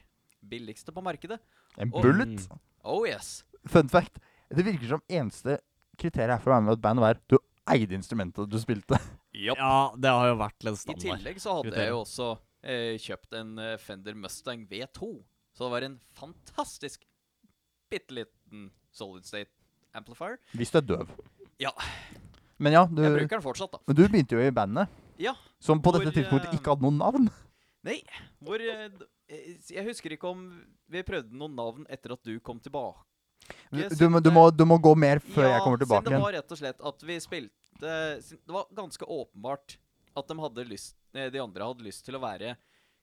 S2: billigste på markedet.
S1: En
S2: Og-
S1: bullet.
S2: Oh yes.
S1: Mm. Fun fact. Det virker som eneste kriteriet her for å være med i et band var du eide instrumentet du spilte.
S4: Ja, det har jo vært litt
S2: I
S4: standard.
S2: tillegg så hadde
S4: kriterium.
S2: jeg jo også eh, kjøpt en eh, Fender Mustang V2. Så det var en fantastisk bitte liten solid state amplifier.
S1: Hvis du er døv.
S2: Ja.
S1: Men ja, du,
S2: Jeg bruker den fortsatt, da.
S1: men du begynte jo i bandet.
S2: Ja.
S1: Som på
S2: Hvor,
S1: dette tidspunktet
S2: eh,
S1: ikke hadde noe navn.
S2: Nei, hvor eh, d- eh, Jeg husker ikke om vi prøvde noen navn etter at du kom tilbake.
S1: Du,
S2: jeg
S1: du, må- du,
S2: siden
S1: må, du må gå mer før jeg kommer
S2: Ja,
S1: tilbake
S2: siden det
S1: igjen.
S2: var rett og slett at vi spilte sin- Det var ganske åpenbart at de, hadde lyst, eh, de andre hadde lyst til å være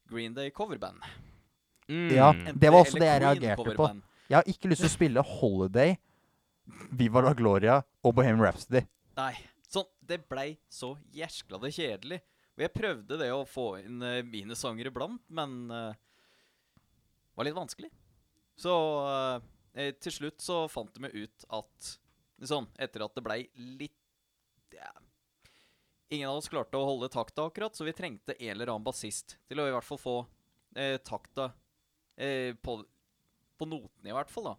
S2: Green Day coverband.
S4: Mm.
S1: Ja,
S2: Enten
S1: det var også
S2: eller
S1: det jeg
S2: Queen
S1: reagerte på.
S2: coverband.
S1: Jeg har ikke lyst til å spille Holiday, Viva la Gloria og Bohemian Rhapsody.
S2: Nei. Sånn, det blei så jæskla det kjedelig. Og jeg prøvde det å få inn eh, mine sanger iblant, men eh, det var litt vanskelig. Så eh, eh, til slutt så fant de meg ut at Sånn, etter at det blei litt ja, Ingen av oss klarte å holde takta akkurat, så vi trengte en eller annen bassist til å i hvert fall få eh, takta eh, på, på notene, i hvert fall, da.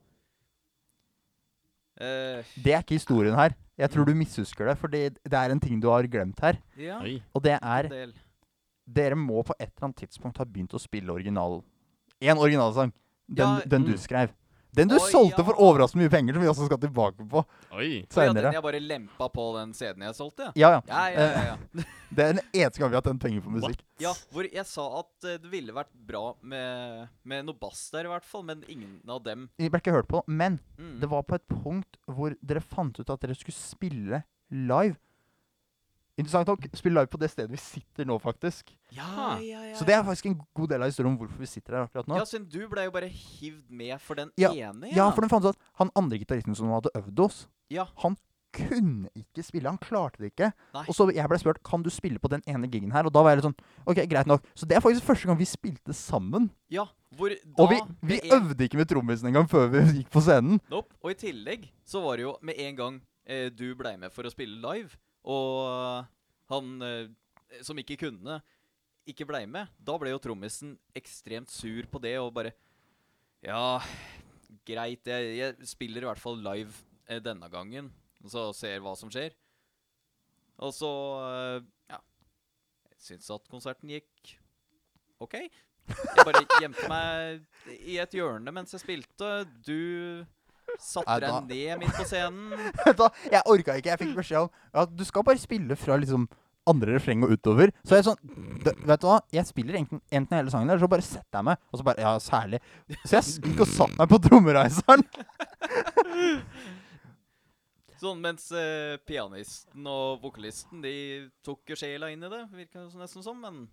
S2: Eh,
S1: Det er ikke historien her. Jeg
S2: Mm.
S1: tror du mishusker det, for det, det er en ting du har glemt her.
S2: ja,
S4: Oi.
S1: Og det
S2: en
S1: er
S2: del.
S1: Dere må på et eller annet tidspunkt ha begynt å spille original En originalsang. Den,
S2: Ja,
S1: den du
S4: mm.
S1: skrev. Den du
S2: Oi,
S1: solgte
S2: ja.
S1: for overraskende mye penger, som vi også skal tilbake på
S4: Oi.
S2: Å Ja, den
S1: seinere.
S2: jeg bare lempa på den CD-en jeg solgte? Ja,
S1: Ja, ja.
S2: ja, ja. ja, ja.
S1: Det er den eneste gang vi har tjent penger på musikk.
S2: ja hvor jeg sa at eh, det ville vært bra med, med noe bass der, i hvert fall, men ingen av dem
S1: Vi ble ikke hørt på, men
S2: mm.
S1: det var på et punkt hvor dere fant ut at dere skulle spille live. Interessant nok, spille live på det stedet vi sitter nå, faktisk.
S2: Ja, ja, ja.
S1: Så det er faktisk en god del av historien om hvorfor vi sitter her akkurat nå.
S2: Ja, siden du ble jo bare hivd med for den
S1: Ja,
S2: ene,
S1: Ja, for den fant ut at han andre gitaristen som hadde øvd oss,
S2: Ja.
S1: han kunne ikke spille. Han klarte det ikke.
S2: Nei.
S1: Og så jeg ble spurt kan du spille på den ene gigen her. Og da var jeg litt sånn OK, greit nok. Så det er faktisk første gang vi spilte sammen.
S2: Ja, hvor da
S1: og vi, vi
S2: med en-
S1: øvde ikke med trommisen engang før vi gikk på scenen.
S2: Nope. Og i tillegg så var det jo med en gang eh, du blei med for å spille live, og han eh, som ikke kunne, ikke blei med, da ble jo trommisen ekstremt sur på det og bare Ja, greit, jeg, jeg spiller i hvert fall live eh, denne gangen, og så ser hva som skjer. Og så eh, Ja. Jeg syns at konserten gikk OK. Jeg bare gjemte meg i et hjørne mens jeg spilte. Du
S1: Nei,
S2: satte
S1: da-
S2: deg ned midt på scenen.
S1: da, jeg orka ikke. Jeg fikk beskjed om at du skal bare spille fra liksom andre refreng og utover. Så jeg sånn d- Vet du hva, jeg spiller enten, enten hele sangen, eller så bare setter jeg meg. Og så bare Ja, særlig. Så jeg sk- gikk og satte meg på trommereiseren.
S2: Sånn mens eh, pianisten og vokalisten De tok jo sjela inn i det, virka det nesten som, men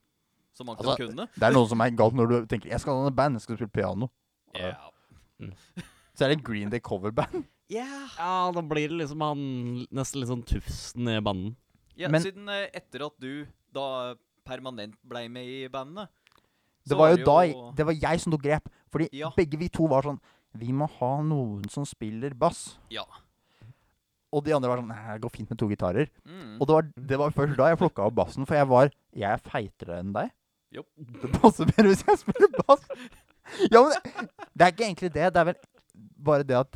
S2: så mange
S1: Altså,
S2: de kunne.
S1: Det er noe som er galt når du tenker Jeg skal ha et band, jeg skal spille piano.
S2: Ja.
S1: Så er det Green Day coverband.
S2: Yeah.
S4: Ja, da blir det liksom han nesten litt sånn tufsen i banden.
S2: Ja,
S1: Men-
S2: siden eh, etter at du da permanent blei med i bandet
S1: Det
S2: så
S1: var jo da jeg- Det var jeg som tok grep. Fordi
S2: Ja.
S1: begge vi to var sånn Vi må ha noen som spiller bass.
S2: Ja.
S1: Og de andre var sånn Nei, det går fint med to gitarer.
S2: Mm.
S1: Og det var, det var først da jeg plukka opp bassen, for jeg var Jeg er feitere enn deg.
S2: Jopp.
S1: Det passer bedre hvis jeg spiller bass. Ja, men det, det er ikke egentlig det. Det er vel bare det at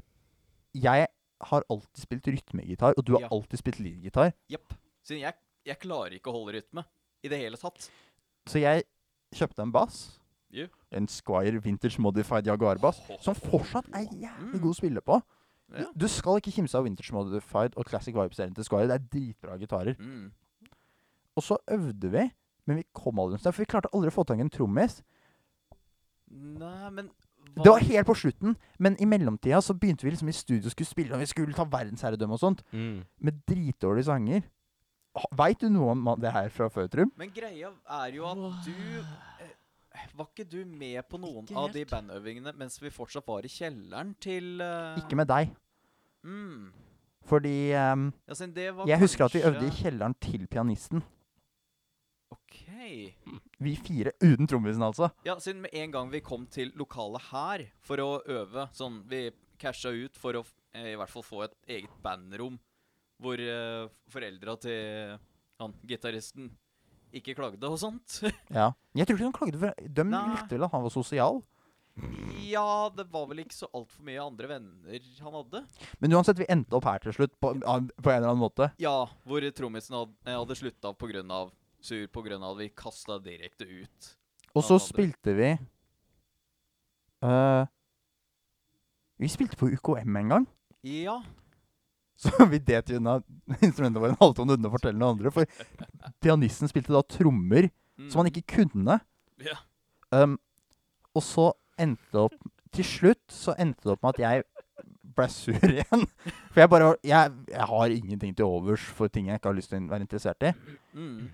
S1: jeg har alltid spilt rytmegitar, og du har
S2: Ja.
S1: alltid spilt leadgitar.
S2: Jepp. Siden jeg, jeg klarer ikke å holde rytme i det hele tatt.
S1: Så jeg kjøpte en bass.
S2: Ja.
S1: En Squire Vintage Modified Jaguar-bass. Som fortsatt er jævlig god å spille på. Du,
S2: Mm. Ja.
S1: du skal ikke kimse av Vintage Modified og Classic Vibes-serien til Squire. Det er dritbra gitarer.
S2: Mm.
S1: Og så øvde vi, men vi kom aldri noe sted. For vi klarte aldri å få tak i en trommis.
S2: Nei, men
S1: Det var helt på slutten, men i mellomtida så begynte vi liksom i studio og skulle spille, og vi skulle ta verdensherredømme og sånt,
S4: Mm.
S1: med dritdårlige sanger. Veit du noe om det her fra før, Trum?
S2: Men greia er jo at du eh, Var ikke du med på noen
S4: Ikke
S2: av de bandøvingene mens vi fortsatt var i kjelleren til eh,
S1: Ikke med deg.
S2: Mm.
S1: Fordi ehm,
S2: Ja, siden det var
S1: jeg husker at vi
S2: kanskje-
S1: øvde i kjelleren til pianisten.
S2: Ok.
S1: Vi fire uten trommisen, altså.
S2: Ja, siden med en gang vi kom til lokalet her for å øve, sånn vi casha ut for å f- eh, i hvert fall få et eget bandrom hvor eh, foreldra til han gitaristen ikke klagde og sånt.
S1: Ja. Jeg tror ikke de klagde for De
S2: Nei.
S1: likte vel at han var sosial.
S2: ja, det var vel ikke så altfor mye andre venner han hadde.
S1: Men uansett, vi endte opp her til slutt, på, av- på en eller annen måte.
S2: Ja, hvor trommisen hadde, eh, hadde slutta pga. sur pga. at vi kasta direkte ut.
S1: Og
S2: Ja,
S1: så
S2: det.
S1: spilte vi eh, Vi spilte på UKM en gang.
S2: Ja.
S1: Så vi det unna instrumentene våre en halvtone unna å fortelle noen andre. For pianisten spilte da trommer
S2: Mm.
S1: som han ikke kunne.
S2: Ja.
S1: Um, og så endte det opp Til slutt så endte det opp med at jeg ble sur igjen. For jeg bare var- jeg, jeg har ingenting til overs for ting jeg ikke har lyst til å være interessert i.
S2: Mm.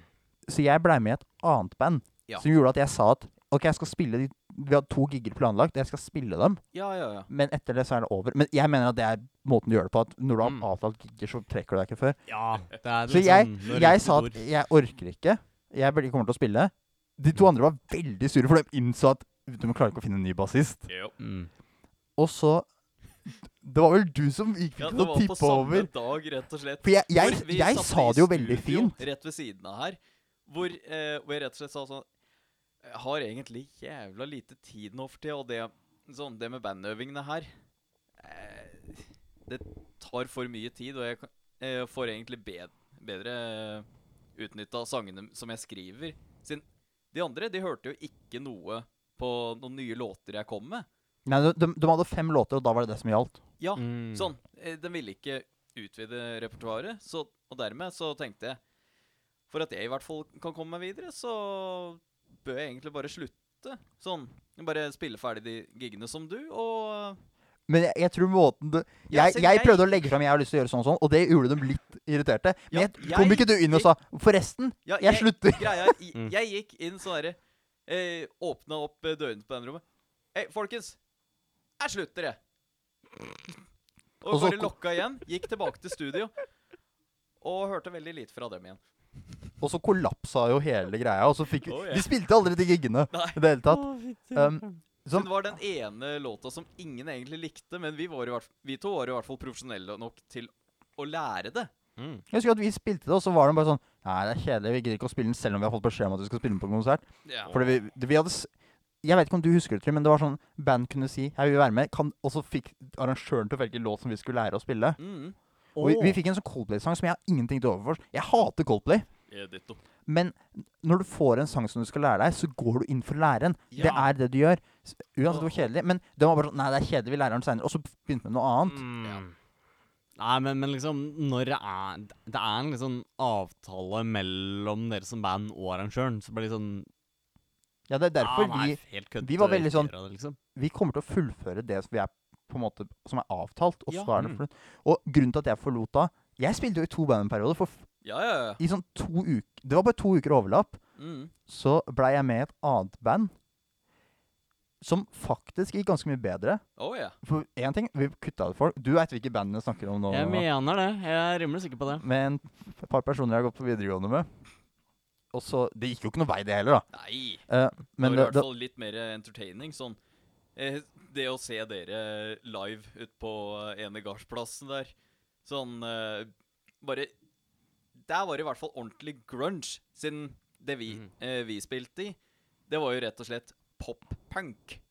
S1: Så jeg blei med i et annet band
S2: Ja.
S1: som gjorde at jeg sa at OK, jeg skal spille de Vi hadde to gigger planlagt, jeg skal spille dem.
S2: ja, ja, ja.
S1: Men etter det så er det over. Men jeg mener at det er måten du gjør det på. At når du har
S4: Mm.
S1: avtalt gigger, så trekker du deg ikke før.
S4: Ja, det er
S1: Så
S4: litt
S1: jeg,
S4: sånn når
S1: jeg
S4: riktig
S1: sa at
S4: ord-
S1: jeg orker ikke. Jeg blir- kommer til å spille. De to andre var veldig sure, for de innså at de klarer ikke å finne en ny bassist.
S2: Jo.
S4: mm.
S1: Og så Det var vel du som gikk
S2: Ja,
S1: til
S2: det
S1: å
S2: var på
S1: tippe
S2: samme
S1: over.
S2: dag, rett og slett.
S1: For jeg, jeg,
S2: Hvor vi
S1: jeg
S2: satt
S1: sa
S2: i
S1: det jo veldig
S2: studio
S1: fint.
S2: Rett ved siden av her. Hvor, eh, hvor jeg rett og slett sa sånn Jeg har egentlig jævla lite tid nå for tida, og det, sånn, det med bandøvingene her eh, Det tar for mye tid, og jeg kan- eh, får egentlig bed, bedre utnytta sangene som jeg skriver. Siden de andre de hørte jo ikke noe på noen nye låter jeg kom med.
S1: Nei, de, de, de hadde fem låter, og da var det det som gjaldt.
S2: Ja,
S4: Mm.
S2: Sånn. eh, Den ville ikke utvide repertoaret, så, og dermed så tenkte jeg For at jeg i hvert fall kan komme meg videre, så bør jeg egentlig bare slutte. Sånn. Bare spille ferdig de giggene som du, og eh,
S1: Men jeg, jeg tror måten du
S2: Ja,
S1: jeg,
S2: selv
S1: jeg
S2: jeg-
S1: prøvde å legge fram jeg har lyst til å gjøre sånn og sånn, og det gjorde dem litt irriterte. Men
S2: Ja,
S1: jeg, kom
S2: jeg-
S1: ikke du inn og sa 'Forresten,
S2: ja,
S1: jeg slutter'.
S2: Greia, jeg,
S4: Mm.
S2: jeg gikk inn sånn herre eh, Åpna opp eh, dørene på bandrommet. Hei, folkens! Jeg slutter, jeg. Og,
S1: Og så
S2: bare
S1: ko-
S2: lokka igjen. Gikk tilbake til studio. Og hørte veldig lite fra dem igjen.
S1: Og så kollapsa jo hele greia. Og så fikk vi
S2: Å, ja.
S1: Vi spilte aldri de giggene
S2: Nei.
S1: i det hele tatt.
S4: Å, fy
S1: Um,
S4: søren.
S1: Som-
S2: Som det var den ene låta som ingen egentlig likte, men vi, var i hvert, vi to var i hvert fall profesjonelle nok til å lære det.
S4: mm.
S1: Jeg husker at vi spilte det, og så var de bare sånn Nei, det er kjedelig, vi gidder ikke å spille den selv om vi har fått beskjed om at vi skal spille den på konsert.
S2: Ja.
S1: Fordi vi, det- vi hadde s- Jeg vet ikke om du husker det, Trym, men det var sånn band kunne si Jeg vil være med, kan, og så fikk arrangøren til å velge låt som vi skulle lære å spille.
S2: Mm.
S1: Og vi, vi
S4: Å.
S1: fikk en sånn Coldplay-sang som jeg har ingenting til over for. Jeg hater Coldplay. Men n- når du får en sang som du skal lære deg, så går du inn for læreren. Det
S2: Ja.
S1: er det du gjør. S- Uansett hvor kjedelig. Men det var bare sånn Nei, det er kjedelig, vi lærer den seinere. Og så begynte vi med noe annet.
S4: Mm.
S2: Ja.
S4: Nei, men, men liksom når det er Det er en liksom avtale mellom dere som band og arrangøren. Så blir det liksom
S1: Ja, det er
S2: Ah,
S1: derfor vi vi var veldig sånn-
S4: liksom.
S1: vi kommer til å fullføre det som, vi er, på en måte, som er avtalt. Og,
S2: Ja.
S1: så er det
S4: Mm.
S1: for, og grunnen til at jeg forlot da Jeg spilte jo i to bandperioder. For f-
S2: Ja, ja, ja.
S1: i sånn to uker Det var bare to uker overlapp.
S2: Mm.
S1: Så blei jeg med i et annet band som faktisk gikk ganske mye bedre.
S2: Å, Oh, ja.
S1: For én ting, vi kutta ut folk. Du veit hvilke band jeg snakker om nå.
S4: Jeg mener det. Jeg er rimelig sikker på det.
S1: Med en et par personer jeg har gått på videregående med. Og så Det gikk jo ikke noe vei, det heller, da.
S2: Nei.
S1: Eh,
S2: Men
S1: men
S2: det var i
S1: det,
S2: hvert fall litt mer entertaining. Sånn eh, Det å se dere live ute på eh, ene gardsplassen der Sånn eh, Bare Der var det i hvert fall ordentlig grunge, siden det vi,
S4: Mhm.
S2: eh, vi spilte i, det var jo rett og slett pop-punk.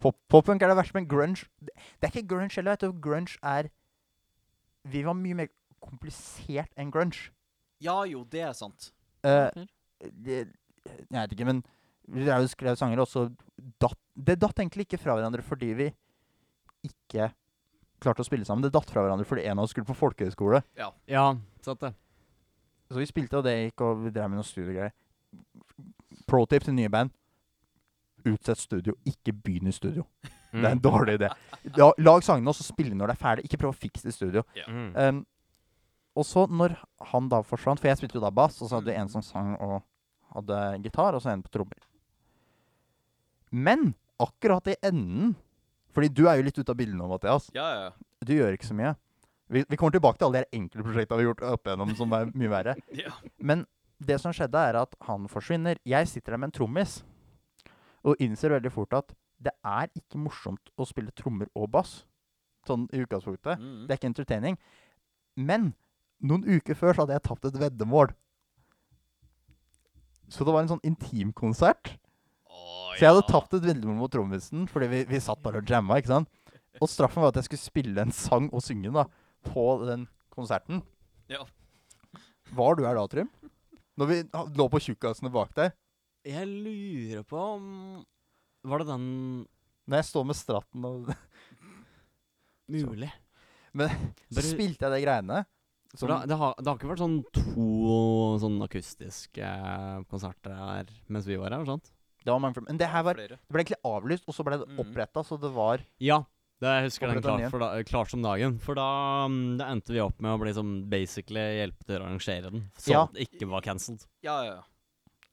S1: Pop- Pop-punk er det verste, men grunge Det det er ikke grunge heller. vet du. Grunge er Vi var mye mer komplisert enn grunge.
S2: Ja jo, det er sant.
S1: Eh, det, jeg vet ikke, men vi drev og skrev sanger, og så datt Det datt egentlig ikke fra hverandre fordi vi ikke klarte å spille sammen. Det datt fra hverandre fordi en av oss skulle på folkehøyskole.
S4: Ja, sant det.
S1: Så vi spilte, og det gikk, og vi drev med noen studiegreier. Pro tip til nye band. Utsett studio, ikke begynn i studio. Det er en dårlig idé. La, lag sangene, og så spille når det er ferdig. Ikke prøv å fikse det i studio.
S4: Mm.
S1: Um, og så når han da forsvant, for jeg spilte jo da bass, og så hadde vi en som sang og hadde gitar, og så en på trommer. Men akkurat i enden Fordi du er jo litt ute av bildet nå, Mathias.
S2: Ja, ja.
S1: Du gjør ikke så mye. Vi, vi kommer tilbake til alle de her enkeltprosjektene vi har gjort opp igjennom som er mye verre.
S2: ja.
S1: Men det som skjedde, er at han forsvinner. Jeg sitter der med en trommis og innser veldig fort at det er ikke morsomt å spille trommer og bass. sånn i utgangspunktet.
S2: Mm.
S1: Det er ikke entertaining. Men noen uker før så hadde jeg tapt et veddemål. Så det var en sånn intimkonsert.
S2: Å,
S1: Så jeg hadde
S2: ja.
S1: tapt et veddemål mot trommisen fordi vi, vi satt bare og jamma. ikke sant? Og straffen var at jeg skulle spille en sang og synge da, på den konserten.
S2: Ja.
S1: Var du her da, Trym? Når vi ha- lå på tjukkasene bak der.
S4: Jeg lurer på om Var det den
S1: Når jeg står med stratten og
S4: mulig?
S1: Så
S4: Bare-
S1: spilte jeg de greiene.
S4: For
S1: Som,
S4: da, det, har, det har ikke vært sånn to sånn akustiske konserter her mens vi var her? sånn? sant?
S1: det var mange flere. Men det her var,
S2: Flere.
S1: det ble egentlig avlyst, og så ble det
S2: Mhm.
S1: oppretta, så det var
S4: Ja. Det jeg husker den
S1: Opprett den
S4: klart,
S1: igjen.
S4: for da, klart som dagen. For da, mm, da endte vi opp med å bli som basically hjelpe til å arrangere den. Så
S1: Ja.
S4: det ikke var cancelled.
S2: Ja, ja, ja.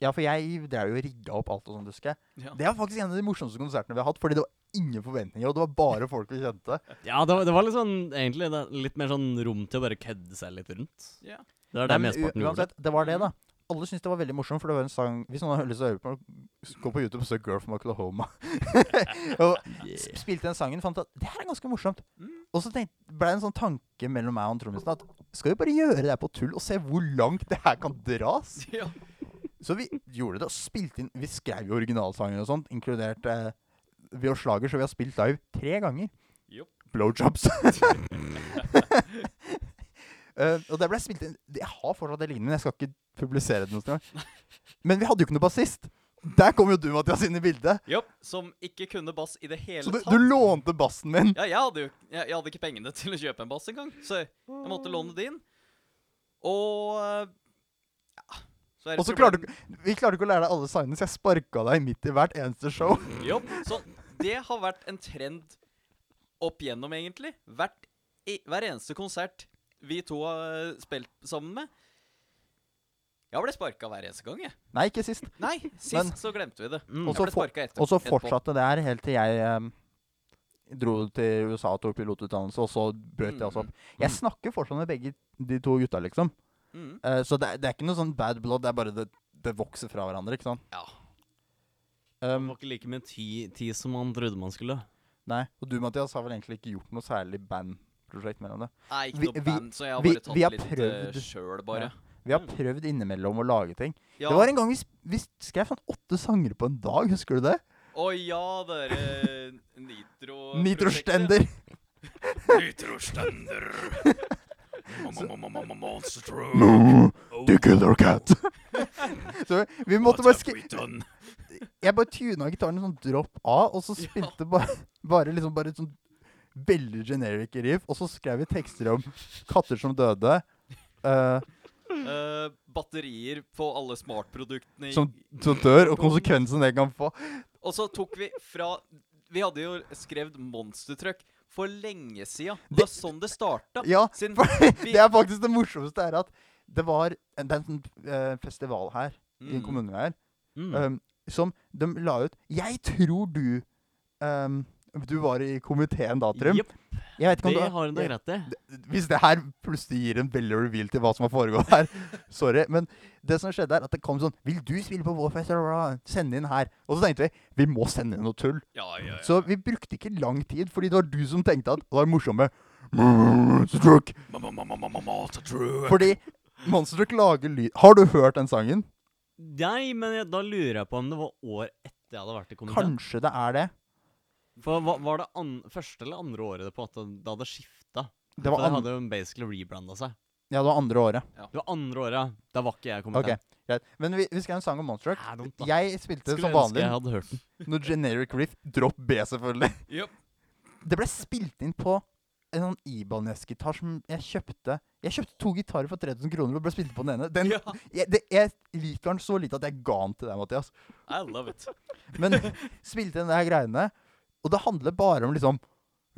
S1: Ja, for jeg drev jo og rigga opp alt og sånt, husker jeg.
S2: Ja.
S1: Det var faktisk en av de morsomste konsertene vi har hatt, fordi det var ingen forventninger, og det var bare folk vi kjente.
S4: Ja, det, var- det var litt sånn, egentlig det, litt mer sånn rom til å bare kødde seg litt rundt.
S2: Ja.
S4: Det er det
S1: men u-
S4: mesteparten gjorde.
S1: uansett, det var det, da. Alle syntes det var veldig morsomt, for det var en sang Hvis noen har lyst til å høre på, gå på YouTube og søk 'Girl from Oklahoma'. og s-
S4: Yeah.
S1: spilte den sangen, fant at det her er ganske morsomt.
S2: Mm.
S1: Og så tenkte, ble det en sånn tanke mellom meg og han trommisen at skal vi bare gjøre det her på tull, og se hvor langt det her kan dras?
S2: ja.
S1: Så vi gjorde det og spilte inn Vi skrev jo originalsanger og sånt, inkludert eh, Vi og slager, så vi har spilt live tre ganger.
S2: Jopp.
S1: Blowjobs. Eh, og det ble spilt inn Jeg har fortsatt det lignende, men jeg skal ikke publisere det noe sted. Men vi hadde jo ikke noe bassist. Der kom jo du, Mathias, inn i bildet.
S2: Jopp, Som ikke kunne bass i det hele
S1: Så du,
S2: tatt.
S1: du lånte bassen min.
S2: Ja, jeg hadde jo jeg, jeg hadde ikke pengene til å kjøpe en bass engang, så jeg måtte låne din. Og eh, ja, er det
S1: Og så
S2: problem-
S1: klarte du ikke- Vi klarte ikke å lære deg alle sangene, så jeg sparka deg midt i hvert eneste show.
S2: Jo, så det har vært en trend opp gjennom, egentlig. Hvert, i, hver eneste konsert vi to har spilt sammen med. Jeg ble sparka hver eneste gang, jeg.
S1: Nei, ikke sist.
S2: Nei, sist
S1: Men-
S2: så glemte vi det.
S4: Mm.
S1: Og
S2: Jeg
S1: så
S2: ble
S1: for-
S2: sparka etter.
S1: Og så
S2: etterpå.
S1: fortsatte det her helt til jeg ehm, dro til USA og tok pilotutdannelse, og så brøt jeg også opp. Jeg snakker fortsatt med begge de to gutta, liksom.
S2: Mm.
S1: Eh, så det, er- det er ikke noe sånn bad blood, det er bare det, det vokser fra hverandre, ikke sant.
S2: Ja.
S4: Det
S1: Ehm,
S4: var ikke like mye ti, ti som man trodde man skulle.
S1: nei. Og du, Mathias, har vel egentlig ikke gjort noe særlig bandprosjekt mellom det.
S2: Nei, ikke
S1: Vi-
S2: noe
S1: vi-
S2: band, så jeg har
S1: vi-
S2: bare tatt
S1: vi har
S2: litt
S1: prøvd-
S2: prøvd... sjøl, bare.
S1: Vi har
S2: Mm.
S1: prøvd innimellom å lage ting.
S2: Ja.
S1: Det var en gang vi, sp- vi skrev sånn åtte sanger på en dag, husker du det?
S2: Å ja, dere nitro...
S1: Nitrostender.
S2: Nitrostender. Monster
S1: No, the killer cat. så vi måtte bare skri... jeg bare tuna gitaren i sånn drop A, og så
S2: Ja.
S1: spilte bare, bare liksom bare et sånn veldig generic riff, og så skrev vi tekster om katter som døde, eh,
S2: Eh, batterier på alle smartproduktene. i-
S1: som, som dør, og konsekvensen det kan få.
S2: Og så tok vi fra Vi hadde jo skrevet monstertruck for lenge siden. Det var sånn det Mm. starta.
S1: Ja,
S2: Siden
S1: for
S2: vi-
S1: det er faktisk det morsomste er at det var en, det er en sånn, eh, festival her, i
S2: Mm.
S1: kommunen her,
S4: Mm.
S1: um, som de la ut Jeg tror du um, Du var i komiteen da, Trym.
S4: Jepp,
S1: Jeg vet ikke om
S4: det
S1: du
S4: har hun da
S1: jeg-
S4: rett i.
S1: Hvis det her plutselig gir en veldig reveal til hva som har foregått her, sorry. Men det som skjedde, er at det kom sånn 'Vil du spille på Warfest?' Send inn her. Og så tenkte vi vi må sende inn noe tull.
S2: Ja, ja, ja.
S1: Så vi brukte ikke lang tid, fordi det var du som tenkte at det var morsomme Monstertruck. Fordi Monstertruck lager lyd Har du hørt den sangen?
S4: Nei, men jeg, da lurer jeg på om det var år etter jeg hadde vært i komiteen.
S1: Kanskje det er det.
S4: For hva, Var det an, første eller andre året det på at det det hadde skifta?
S1: Det
S4: Det
S1: var, an
S4: hadde jo basically rebranda seg.
S1: ja, det var andre året.
S4: Det var andre året, ja. Da var ikke jeg i
S1: Ok,
S4: komiteen.
S1: greit. Men vi, vi skrev en sang om Monstertruck.
S4: Det er dumt, da.
S1: Jeg spilte
S4: Skulle
S1: som
S4: ønske
S1: vanlig
S4: jeg hadde hørt den.
S1: noe generic riff. Drop B, selvfølgelig.
S2: Jep.
S1: Det ble spilt inn på en sånn Ibanez-gitar som jeg kjøpte. Jeg kjøpte to gitarer for 3000 kroner og ble spilt på den ene. Den,
S2: ja.
S1: jeg, det, jeg liker den så lite at jeg ga den til deg, Mathias.
S2: I love it.
S1: Men spilte inn de her greiene, og det handler bare om liksom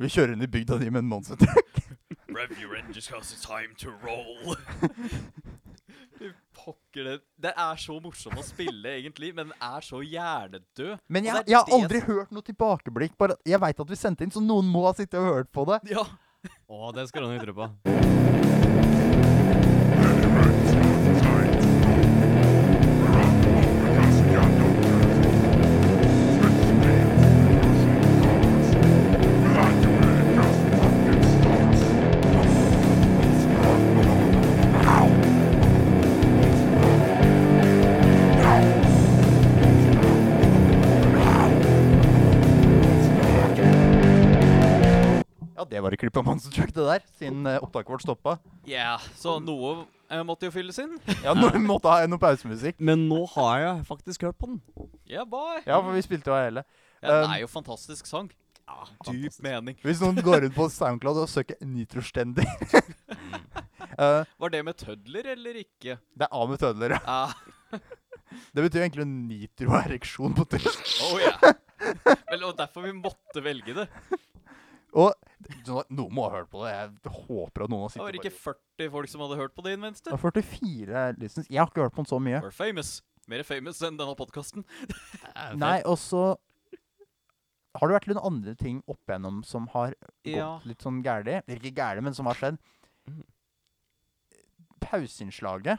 S1: Vi kjører inn i bygda di med en monstertruck.
S2: Rev your engines cause it's time to roll. Pokker det. Det er så morsomt å spille, egentlig, men den er så hjernedød.
S1: Men jeg,
S2: Og det er
S1: jeg har
S2: det
S1: aldri hørt noe tilbakeblikk. Bare, jeg veit at vi sendte inn, så noen må ha sittet og hørt på det.
S2: Ja.
S4: Å, det skal du nok tro på.
S5: Thank you.
S1: Det var et klipp av Monster Truck, det der, siden eh, opptaket vårt stoppa.
S2: Ja, så noe eh, måtte jo fylles inn.
S1: Ja, nå måtte ha noe pausemusikk.
S4: Men nå har jeg faktisk hørt på den.
S2: Yeah, boy.
S1: Ja, for vi spilte jo av hele.
S2: Ja, den
S1: Um,
S2: er jo fantastisk sang. Ja, Dyp mening.
S1: Hvis noen går ut på SoundCloud og søker Nitrostendig Eh,
S2: Var det med tødler eller ikke?
S1: Det er av med tødler, ja.
S2: Ah,
S1: Det betyr jo egentlig nitroereksjon på tysk.
S2: oh yeah. Vel, og derfor vi måtte velge det.
S1: Og så- noen må ha hørt på det. Jeg håper at noen har
S2: Det var
S1: sittet
S2: ikke
S1: på
S2: 40 folk som hadde hørt på det
S1: det.
S2: innvenste.
S1: var 44 listens. Jeg har ikke hørt på den så mye.
S2: We're famous. Mer famous enn denne podkasten.
S1: Nei, og så har det vært noen andre ting opp igjennom som har gått
S2: Ja. Mhm.
S1: litt sånn gærlig. Eller ikke gærlig, men som har skjedd. Pauseinnslaget,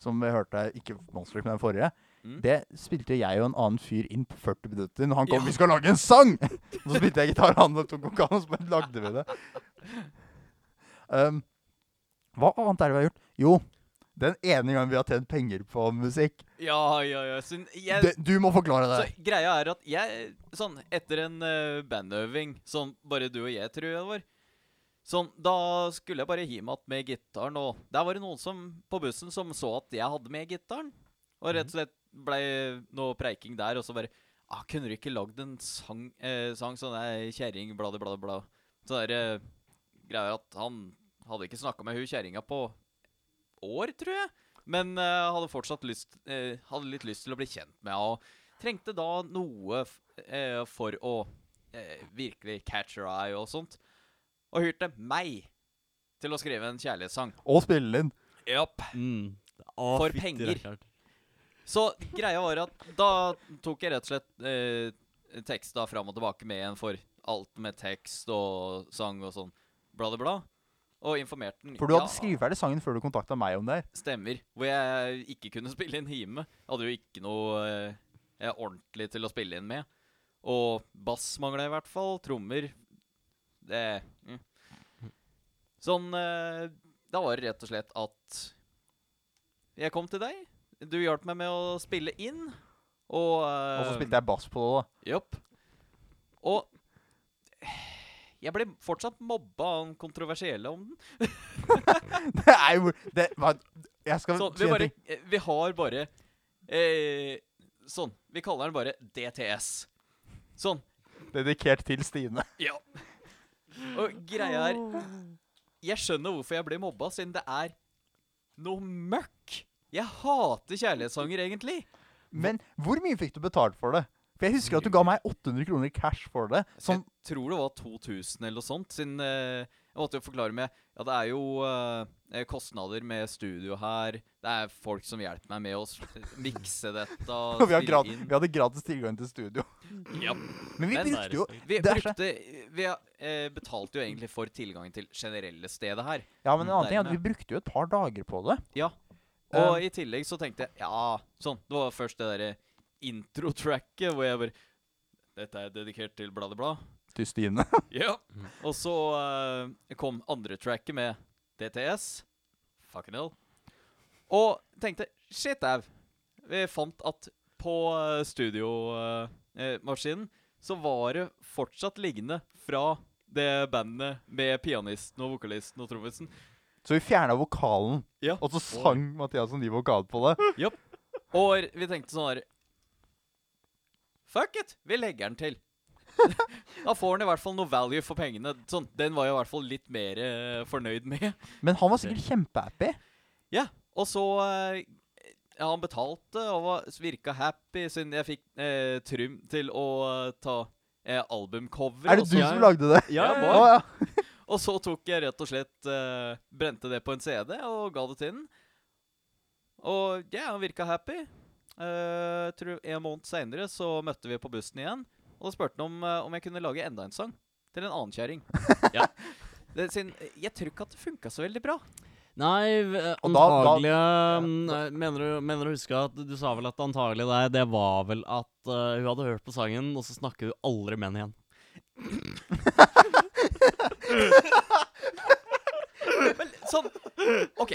S1: som vi hørte ikke Monster Truck, men den forrige,
S2: Mm.
S1: det spilte jeg og en annen fyr inn på 40 minutter når han kom
S2: Ja.
S1: 'Vi skal lage en sang!' Og så spilte jeg gitar, og han tok kokan, og så bare lagde vi det. Um, hva annet er det vi har gjort? Jo, den ene gangen vi har tjent penger på musikk.
S2: Ja, ja, ja. Så jeg,
S1: Det, du må forklare det.
S2: Så greia er at jeg, sånn, etter en eh, bandøving, som bare du og jeg tror jeg det var, sånn, da skulle jeg bare hjem igjen med gitaren, og der var det noen som, på bussen som så at jeg hadde med gitaren, og rett og slett ble noe preiking der, og så bare, ah, kunne du ikke lagd en sang, eh, sang sånn der, kjæring, bla, bla, bla, bla. Så der, eh, greia er at han hadde ikke snakket med hun kjæringa på år, tror jeg, men eh, hadde fortsatt lyst, eh, hadde litt lyst til å bli kjent med henne, og Trengte da noe f eh, for å eh, virkelig catch her eye og sånt. Og hyrte meg til å skrive en kjærlighetssang.
S1: Og spille den inn.
S2: Japp.
S4: Mm. Å,
S2: For
S4: fytti
S2: penger.
S4: rakkeren.
S2: Så greia var at da tok jeg rett og slett eh, teksta fram og tilbake med en for alt med tekst og sang og sånn. Bla, bla, bla. Og informerte den.
S1: For du hadde
S2: Ja,
S1: skrevet ferdig sangen før du kontakta meg om det. her.
S2: Stemmer. Hvor jeg ikke kunne spille inn hime. Jeg hadde jo ikke noe eh, eh, ordentlig til å spille inn med. Og bass mangla i hvert fall. Trommer Det mm. Sånn eh, Da var det rett og slett at jeg kom til deg. Du hjalp meg med å spille inn, og
S1: Og så
S2: eh,
S1: spilte jeg bass på det. da.
S2: Jopp. Og jeg ble fortsatt mobba av den kontroversielle om den.
S1: Det er jo det, hva- Jeg skal
S2: Sånn,
S1: si
S2: vi,
S1: en
S2: bare,
S1: ting.
S2: eh, vi har bare eh, Sånn. Vi kaller den bare DTS. Sånn.
S1: Dedikert til Stine.
S2: Ja. Og greia er Jeg skjønner hvorfor jeg blir mobba, siden det er noe møkk. Jeg hater kjærlighetssanger, egentlig.
S1: Men hvor mye fikk du betalt for det? For jeg husker at du ga meg 800 kroner i cash for det. Som
S2: Jeg tror det var 2000 eller noe sånt. Siden eh, jeg måtte jo forklare med Ja, det er jo eh, kostnader med studio her. Det er folk som hjelper meg med å s- mikse dette. og
S1: vi, har
S2: spille
S1: grad,
S2: inn.
S1: vi hadde gratis tilgang til studio.
S2: Ja.
S1: Men vi
S2: Men-
S1: brukte jo
S2: Vi
S1: Det er så-
S2: brukte Vi eh, betalte jo egentlig for tilgangen til generelle stedet her.
S1: Ja, men en annen ting er at vi
S2: Dermed.
S1: brukte jo et par dager på det.
S2: Ja.
S1: Eh.
S2: Og i tillegg så tenkte jeg Ja, sånn. Det var først det derre introtracket hvor jeg bare Dette er dedikert til bla, bla, bla.
S1: Til Stine.
S2: Ja. Og så eh, kom andre tracket med DTS. Fucking hell. Og tenkte Shit au. Vi fant at på eh, studiomaskinen eh, så var det fortsatt liggende fra det bandet med pianisten og vokalisten og trommisen.
S1: Så vi fjerna vokalen,
S2: Ja.
S1: og så sang Mathias og de vokal på det.
S2: Og vi tenkte sånn her Fuck it! Vi legger den til. da får den i hvert fall noe value for pengene. Sånn, Den var jeg i hvert fall litt mer eh, fornøyd med.
S1: Men han var sikkert kjempehappy.
S2: Ja, og så eh, ja, Han betalte og var, virka happy, siden jeg fikk eh, Trym til å eh, ta eh, albumcover.
S1: Er det
S2: og
S1: du
S2: så-
S1: som lagde det?
S2: Ja,
S4: Ja, ja,
S2: boy.
S1: Å, ja.
S2: Og så tok jeg rett og slett eh, Brente det på en CD og ga det til den. Og ja, han virka happy. Eh, tror En måned seinere så møtte vi på bussen igjen, og da spurte han om, eh, om jeg kunne lage enda en sang. Til en annen kjerring. ja. Det, siden, eh, jeg tror ikke at det funka så veldig bra.
S4: Nei, v- eh,
S1: Og da- da-
S4: antagelig mm, eh, mener, du, mener du husker at du sa vel at antagelig det, det var vel at eh, hun hadde hørt på sangen, og så snakker hun aldri med henne igjen.
S2: Men sånn OK.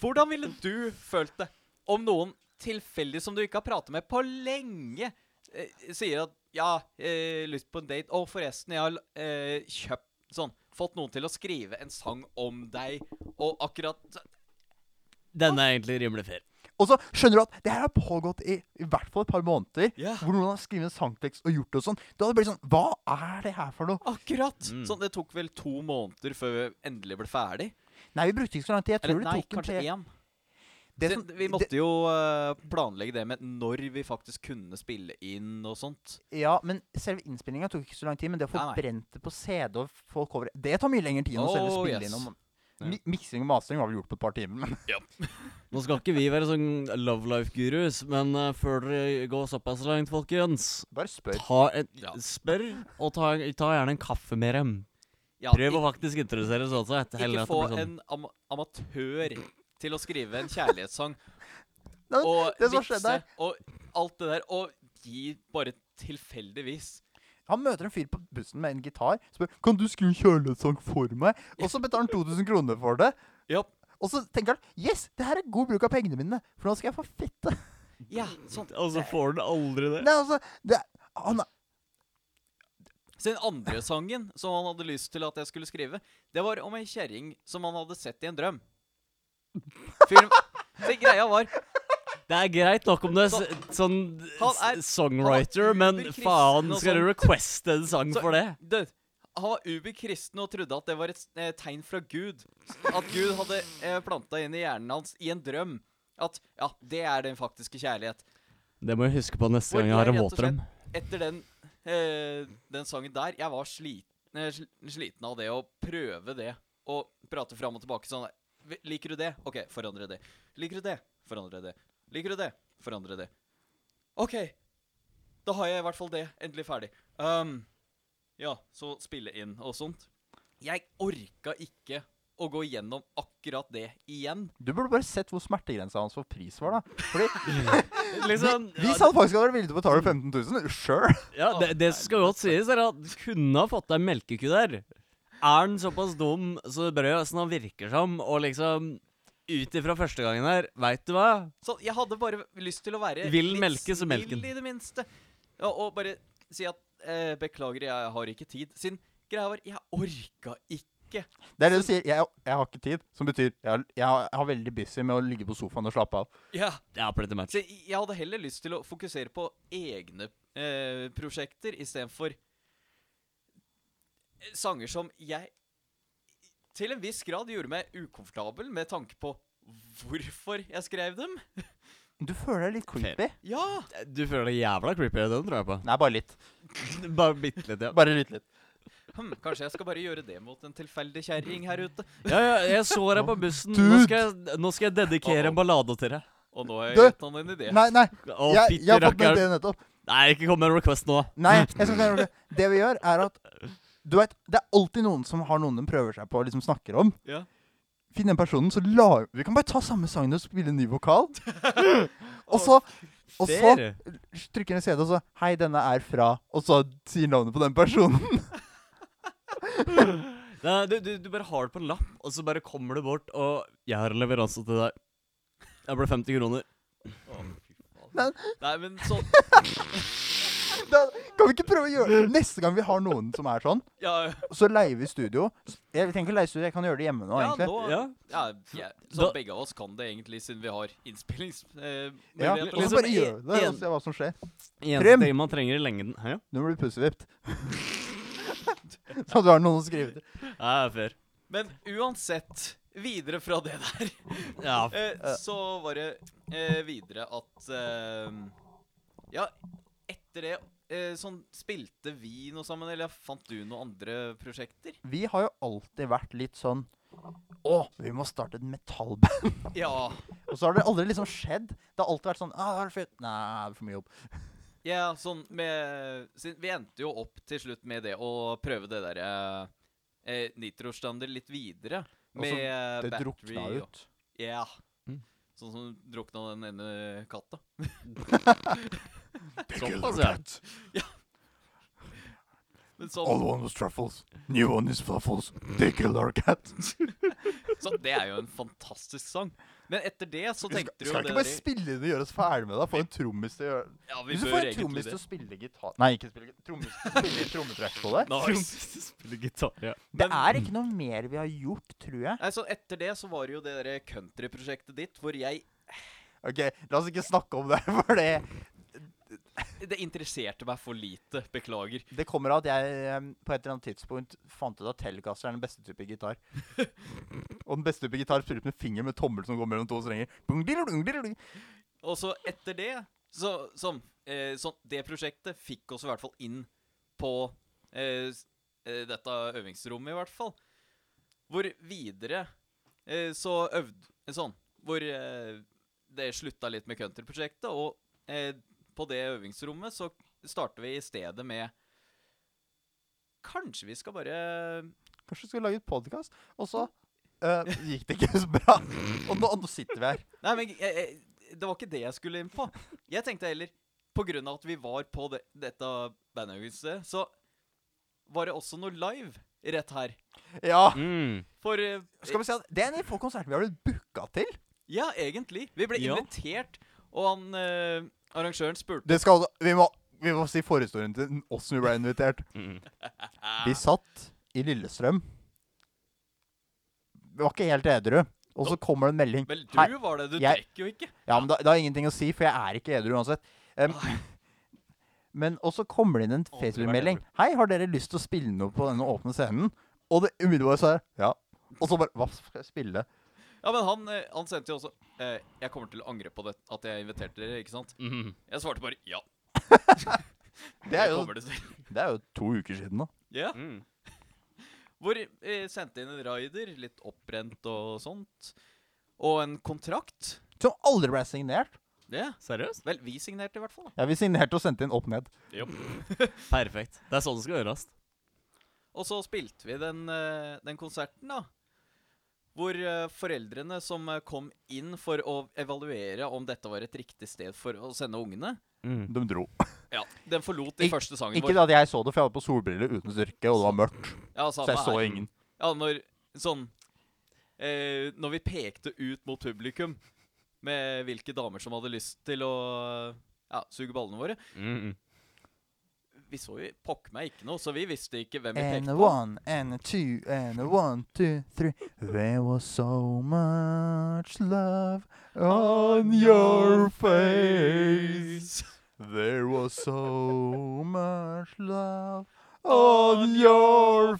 S2: Hvordan ville du følt det om noen tilfeldig som du ikke har pratet med på lenge, eh, sier at 'ja, eh, lyst på en date', og forresten, jeg har eh, kjøpt Sånn, fått noen til å skrive en sang om deg, og akkurat
S4: Den er egentlig rimelig fair.
S1: Og så skjønner du at det her har pågått i i hvert fall et par måneder.
S2: Ja.
S1: Hvor noen har skrevet en sangtekst og gjort det og sånn. Da hadde det blitt sånn Hva er det her for noe?
S2: Akkurat!
S4: Mm.
S2: Sånn, det tok vel to måneder før vi endelig ble ferdig.
S1: Nei, vi brukte ikke så lang tid. Jeg tror
S2: Eller nei,
S1: det tok en
S2: kanskje
S1: tre-
S2: én.
S1: Det
S2: Det-
S1: som-
S2: Vi måtte
S1: det-
S2: jo eh, planlegge det med når vi faktisk kunne spille inn og sånt.
S1: Ja, men selve innspillinga tok ikke så lang tid. Men det å få
S2: Nei, nei.
S1: brent det på CD og få cover Det tar mye lengre tid enn å selve
S2: Oh,
S1: spille
S2: yes.
S1: innom.
S2: Ja.
S1: Mi miksing og mastering var vel gjort på et par timer. Men
S4: Nå skal ikke vi være sånn love life-gurus, men eh, før dere går såpass langt, folkens
S1: bare spør.
S4: ta et,
S2: Ja.
S4: Spør, og ta, ta gjerne en kaffe med dem.
S2: Ja,
S4: Prøv
S2: i-
S4: å faktisk interessere seg også. etter- heller
S2: ikke
S4: at det
S2: få
S4: blir sånn.
S2: en ama amatør til å skrive en kjærlighetssang.
S1: Nei, men
S2: og
S1: det som skjedde
S2: vitse
S1: her-
S2: og alt det der. Og gi bare tilfeldigvis.
S1: Han møter en fyr på bussen med en gitar. Spør kan du skrive en kjærlighetssang for meg. Og så betaler han 2000 kroner for det.
S2: Ja.
S1: Og så tenker han yes, det her er god bruk av pengene mine, for nå skal jeg få fette.
S2: Ja, sånn.
S4: Og så får den aldri det.
S1: Nei, altså, det, han,
S2: Så den andre sangen som han hadde lyst til at jeg skulle skrive, det var om ei kjerring som han hadde sett i en drøm. Film. Så greia var
S4: Det er greit nok om du er s- sånn
S2: Han er-
S4: s- songwriter,
S2: han er
S4: men
S2: uberkristen
S4: faen,
S2: og
S4: skal du
S2: sånt.
S4: requeste en sang
S2: Så-
S4: for det?
S2: det, Han var ubekristen og trodde at det var et s- eh, tegn fra Gud. At Gud hadde eh, planta inn i hjernen hans i en drøm. At ja, det er den faktiske kjærlighet.
S4: Det må jeg huske på neste
S2: Hvor
S4: gang jeg har
S2: jeg
S4: en
S2: rett og slett-
S4: våtdrøm.
S2: Etter den, eh, den sangen der Jeg var sliten, eh, sl- sliten av det å prøve det. Og prate fram og tilbake sånn der. "V- Liker du det? OK, forandre det. Liker du det? Forandre det. Liker du det? Forandre det. OK. Da har jeg i hvert fall det endelig ferdig. Um, ja, så spille inn og sånt. Jeg orka ikke å gå gjennom akkurat det igjen.
S1: du burde bare sett hvor smertegrensa hans for pris var, da. Fordi
S4: Liksom,
S1: Hvis han faktisk hadde vært villig til å betale 15 000, sure.
S4: Ja, det, det som skal godt sies, er at du kunne ha fått deg en melkeku der. Er den såpass dum så det brød som han virker som, og liksom ut ifra første gangen her, veit du hva?
S2: Så jeg hadde bare lyst til å være
S4: Vil melke, så melk den.
S2: i det minste. Ja, og bare si at eh, beklager, jeg har ikke tid. Siden greia var jeg orka ikke.
S1: Det er det du sier. Jeg, jeg har ikke tid. Som betyr jeg, har- jeg, har, jeg har veldig busy med å ligge på sofaen og slappe av.
S2: Ja.
S4: Ja, plenty match.
S2: Så jeg jeg hadde heller lyst til å fokusere på egne eh, prosjekter istedenfor eh, sanger som jeg til en viss grad gjorde meg ukomfortabel med tanke på hvorfor jeg skrev dem.
S1: Du føler deg litt creepy.
S2: Ja!
S4: Du føler deg jævla creepy, den tror jeg på.
S1: Nei, bare litt.
S4: Bare bitte litt, ja.
S1: Bare litt litt.
S2: Hm, kanskje jeg skal bare gjøre det mot en tilfeldig kjerring her ute.
S4: Ja, ja, jeg så deg på bussen. Nå
S1: Dude.
S4: skal jeg, nå skal jeg dedikere en ballade til deg.
S2: Og nå har jeg
S1: Du-
S2: gitt han en idé.
S1: Nei, nei.
S4: Å,
S1: Jeg,
S4: fytti
S1: jeg har fått med
S4: rakkeren.
S1: det nettopp.
S4: Nei, ikke kom med en request nå.
S1: Nei, jeg skal ikke gjøre det. Det vi gjør, er at du vet, Det er alltid noen som har noen de prøver seg på og liksom snakker om.
S2: Ja.
S1: Finn den personen, så la Vi kan bare ta samme sangen og spille en ny vokal. og så Og så
S4: Ser.
S1: trykker en CD og så 'Hei, denne er fra' Og så sier navnet på den personen.
S4: Nei, du, du, du bare har det på en lapp, og så bare kommer du bort og 'Jeg har en leveranse til deg. Jeg ble 50 kroner.'
S2: Å, fy faen. Nei, men sånn
S1: Da, kan vi ikke prøve å gjøre det? Neste gang vi har noen som er sånn,
S2: Ja,
S1: så leier vi studio. Jeg trenger ikke leie studio, jeg kan gjøre det hjemme nå,
S2: ja
S1: egentlig.
S2: nå ja.
S4: Ja.
S2: ja, Så
S4: Da-
S2: begge av oss kan det egentlig, siden vi har innspillingsmuligheter.
S1: Ja,
S2: Eh,
S1: og
S2: muligheter.
S1: så
S4: liksom
S1: bare
S4: i-
S1: gjør vi det,
S4: igjen.
S1: og se hva som skjer.
S4: Eneste
S1: Trym.
S4: ting man trenger i lengden. Hæ?
S1: Nå blir du pussevipt. så du har noen å skrive til.
S4: Ja, jeg er fair.
S2: Men uansett, videre fra det der,
S4: Ja, f-
S2: eh, så var det eh, videre at eh, Ja, etter det eh, sånn spilte vi noe sammen, eller fant du noen andre prosjekter?
S1: Vi har jo alltid vært litt sånn Å, vi må starte et metallband.
S2: Ja.
S1: Og så har det aldri liksom skjedd. Det har alltid vært sånn ah, det er fint. Nei, det er for mye jobb.
S2: Ja, sånn med siden Vi endte jo opp til slutt med det å prøve det derre eh, nitrostander litt videre.
S1: Og så
S2: Med eh,
S1: Det
S2: battery
S1: drukna
S2: og-
S1: ut.
S2: Ja.
S4: Mm.
S2: Sånn som drukna den ene katta. Sånn,
S4: såpass, ja.
S2: altså. Men sånn,
S1: one was truffles. New one is fluffles. They killed our cat.
S2: sånn, det er jo en fantastisk sang. Men etter det så tenkte du jo
S1: Skal
S2: det
S1: ikke bare
S2: der i-
S1: spille inn og gjøre oss ferdig med det? Få en trommis til å gjøre
S2: Ja, vi
S1: Hvis du
S2: bør
S1: får en
S2: egentlig
S1: trommis til
S2: det.
S1: å spille gitar Nei, ikke spille gitar. Trommis spille trommetrekk på det.
S2: Nice.
S4: Spille gitar. Ja.
S1: Det
S2: Men-
S1: er ikke noe mer vi har gjort, tror jeg.
S2: Nei, så etter det så var det jo det der countryprosjektet ditt, hvor jeg
S1: Ok, La oss ikke snakke om det, for det,
S2: Det interesserte meg for lite. Beklager.
S1: det kommer av at jeg eh, på et eller annet tidspunkt fant ut at Telecaster er den beste type gitar. Og den beste type gitar spilles med finger med tommel som går mellom to strenger. Bung, diru, dung, diru, dung.
S2: Og så etter det så, sånn, eh, sånn, Det prosjektet fikk oss i hvert fall inn på eh, s- eh, dette øvingsrommet, i hvert fall. Hvor videre eh, så øvde eh, Sånn. Hvor eh, det slutta litt med countryprosjektet, og eh, på det øvingsrommet så starter vi i stedet med Kanskje vi skal bare
S1: Kanskje vi skulle lage et podkast? Og så eh, gikk det ikke så bra. Og nå, nå sitter vi her.
S2: Nei, men jeg, jeg, det var ikke det jeg skulle inn på. Jeg tenkte heller På grunn av at vi var på det, dette bandøvelset, så var det også noe live rett her.
S1: Ja.
S4: Mm.
S2: For eh,
S1: Skal vi se, Det er en av de få konsertene vi har blitt booka til.
S2: Ja, egentlig. Vi ble
S4: Ja.
S2: invitert, og han eh, arrangøren spurte
S1: Det skal, vi, må, vi må si forhistorien til åssen vi ble invitert.
S4: Mm.
S1: Vi satt i Lillestrøm. Vi var ikke helt edru. Og så kommer det en melding.
S2: Vel, du
S1: Hei.
S2: var det. Du
S1: jeg-
S2: drikker jo ikke.
S1: Ja, men da- Det har ingenting å si, for jeg er ikke edru uansett. Em, men Og så kommer det inn en
S4: vært
S1: Facebook-melding. Hei, har dere lyst til å spille noe på denne åpne scenen? Og det umiddelbare svaret ja. Og så bare Hva skal jeg spille?
S2: Ja, men han, eh, han sendte jo også eh, Jeg kommer til å angre på det, at jeg inviterte dere, ikke sant?
S4: Mm.
S2: Jeg svarte bare ja.
S1: Det er jo,
S2: kommer det til.
S1: det er jo to uker siden, da.
S2: Ja.
S4: Mm.
S2: Hvor eh, sendte inn en rider, litt opprent og sånt. Og en kontrakt.
S1: Som aldri ble signert.
S2: Ja.
S4: Seriøst?
S2: Vel, vi signerte i hvert fall. da.
S1: Ja, Vi signerte og sendte inn opp ned.
S4: Perfekt. Det er sånn det skal gjøres.
S2: Og så spilte vi den, eh, den konserten, da. Hvor eh, foreldrene som eh, kom inn for å evaluere om dette var et riktig sted for å sende ungene
S4: Mm.
S1: De dro.
S2: Ja, Den forlot de
S1: Ik-
S2: første sangen
S1: Ikke
S2: vår.
S1: da at jeg så det, for jeg hadde på solbriller uten styrke, og det var mørkt.
S2: Ja,
S1: Så
S2: samme
S1: jeg så
S2: her.
S1: ingen.
S2: Ja, når sånn eh, Når vi pekte ut mot publikum med hvilke damer som hadde lyst til å ja, suge ballene våre
S4: Mm.
S2: Vi så jo pokker meg ikke noe, så vi visste ikke hvem vi
S1: And
S2: pekte
S1: a
S2: på.
S1: one, and a two, and a one, two, three. There was so much love on your face. There was so much love on your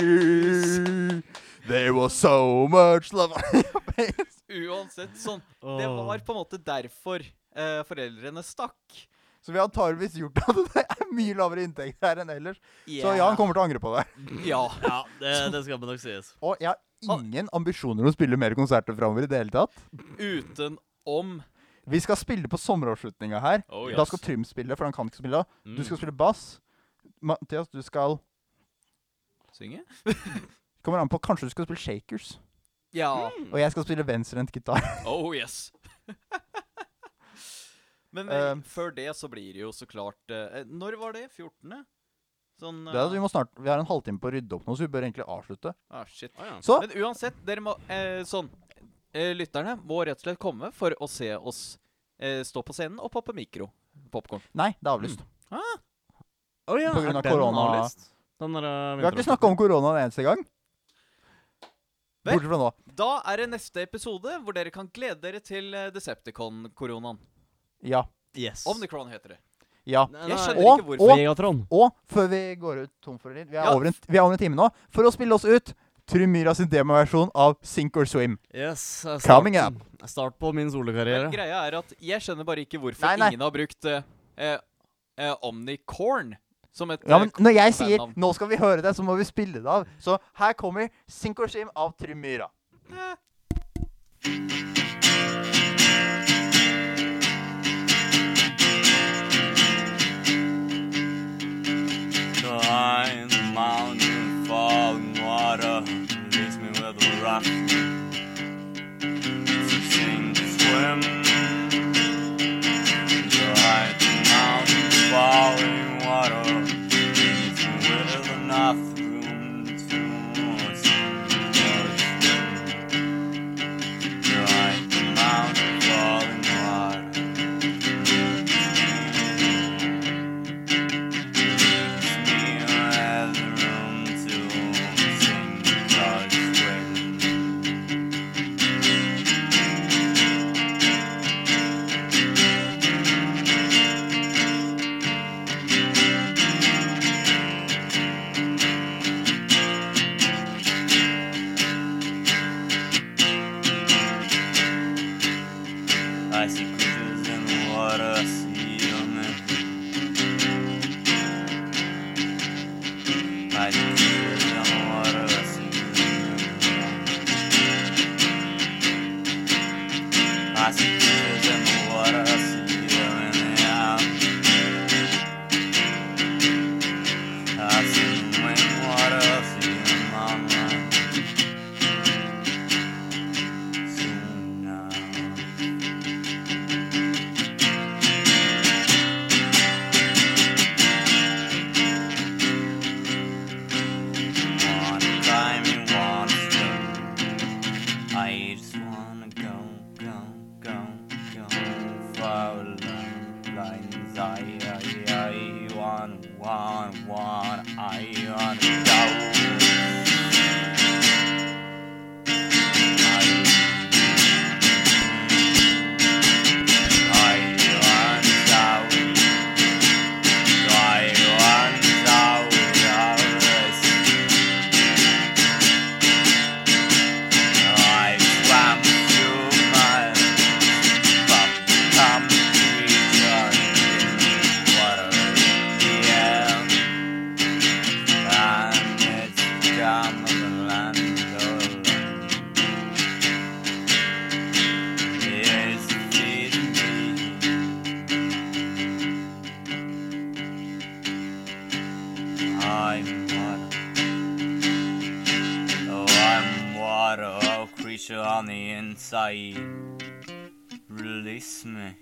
S1: face. There was so much love on your face.
S2: Uansett, sånn. Det var på en måte derfor eh, foreldrene stakk.
S1: Så vi har antageligvis gjort at det er mye lavere inntekter her enn ellers. Så
S2: Yeah.
S1: ja, han kommer til å angre på det.
S2: Ja.
S4: Ja, det, det skal nok sies.
S1: Og jeg har ingen ambisjoner om å spille mer konserter framover i det hele tatt.
S2: Utenom
S1: Vi skal spille på sommeravslutninga her.
S2: oh,
S1: Da skal Trym spille, for han kan ikke spille. da.
S4: Mm.
S1: Du skal spille bass. Mathias, du skal
S2: synge.
S1: Kommer an på. Kanskje du skal spille Shakers.
S2: Ja.
S1: Og jeg skal spille venstrehendt gitar.
S2: Oh yes. Men eh,
S1: Um,
S2: før det så blir det jo så klart eh, Når var det? 14.? Sånn
S1: Det er, at
S2: eh,
S1: vi, må snart, vi har en halvtime på å rydde opp nå, så vi bør egentlig avslutte.
S2: ah, shit.
S4: Ah, ja.
S1: Så
S2: Men uansett, dere må eh, Sånn. Eh, lytterne må rett og slett komme for å se oss eh, stå på scenen og poppe mikro. Popkorn.
S1: Nei, det
S2: Mm.
S1: er avlyst.
S4: Å ja,
S1: På
S4: er
S1: grunn av
S4: den
S1: korona-
S4: avlyst? Den der, uh,
S1: Vi har ikke snakka om korona en eneste gang.
S2: Vel.
S1: Bortsett fra nå.
S2: Da er det neste episode hvor dere kan glede dere til eh, Decepticon-koronaen.
S1: Ja.
S4: Yes.
S2: Omnicron heter det.
S1: Ja.
S2: Jeg skjønner
S1: Og-
S2: ikke hvorfor.
S1: og-
S4: Megatron.
S1: Og før vi går ut tom for litt, vi er,
S2: Ja.
S1: over, en, vi er over en time nå, for å spille oss ut Trym Myhra sin demoversjon av Sink or Swim.
S4: Yes. eh, Start,
S1: Coming up.
S4: Start på min
S2: Men
S4: solokarriere.
S2: greia er at jeg skjønner bare ikke hvorfor
S1: Nei, nei.
S2: ingen har brukt eh, eh, eh, Omnicorn som et
S1: Ja, men
S2: eh,
S1: når jeg sier
S2: bandnavn.
S1: 'nå skal vi høre det', så må vi spille det av. Så her kommer 'Sink or Swim' av Trym Myhra.
S5: High in the mountain, falling water leaves me with a rock. To sink or swim. You're high in the mountain, falling water leaves me with enough room to swim. than what I see on the I see than what I see on the I see than what I see on the I see when what I see in my mind Soon now One time you want to I just wanna go, go, go, go for a long lines. I, I, I want, want, want, I want to go. I, I want to go. I want to go. I swam through my but come water in the end And it's come the land Yes feed me I'm water Oh, I'm water, oh, creature on the inside. Release me.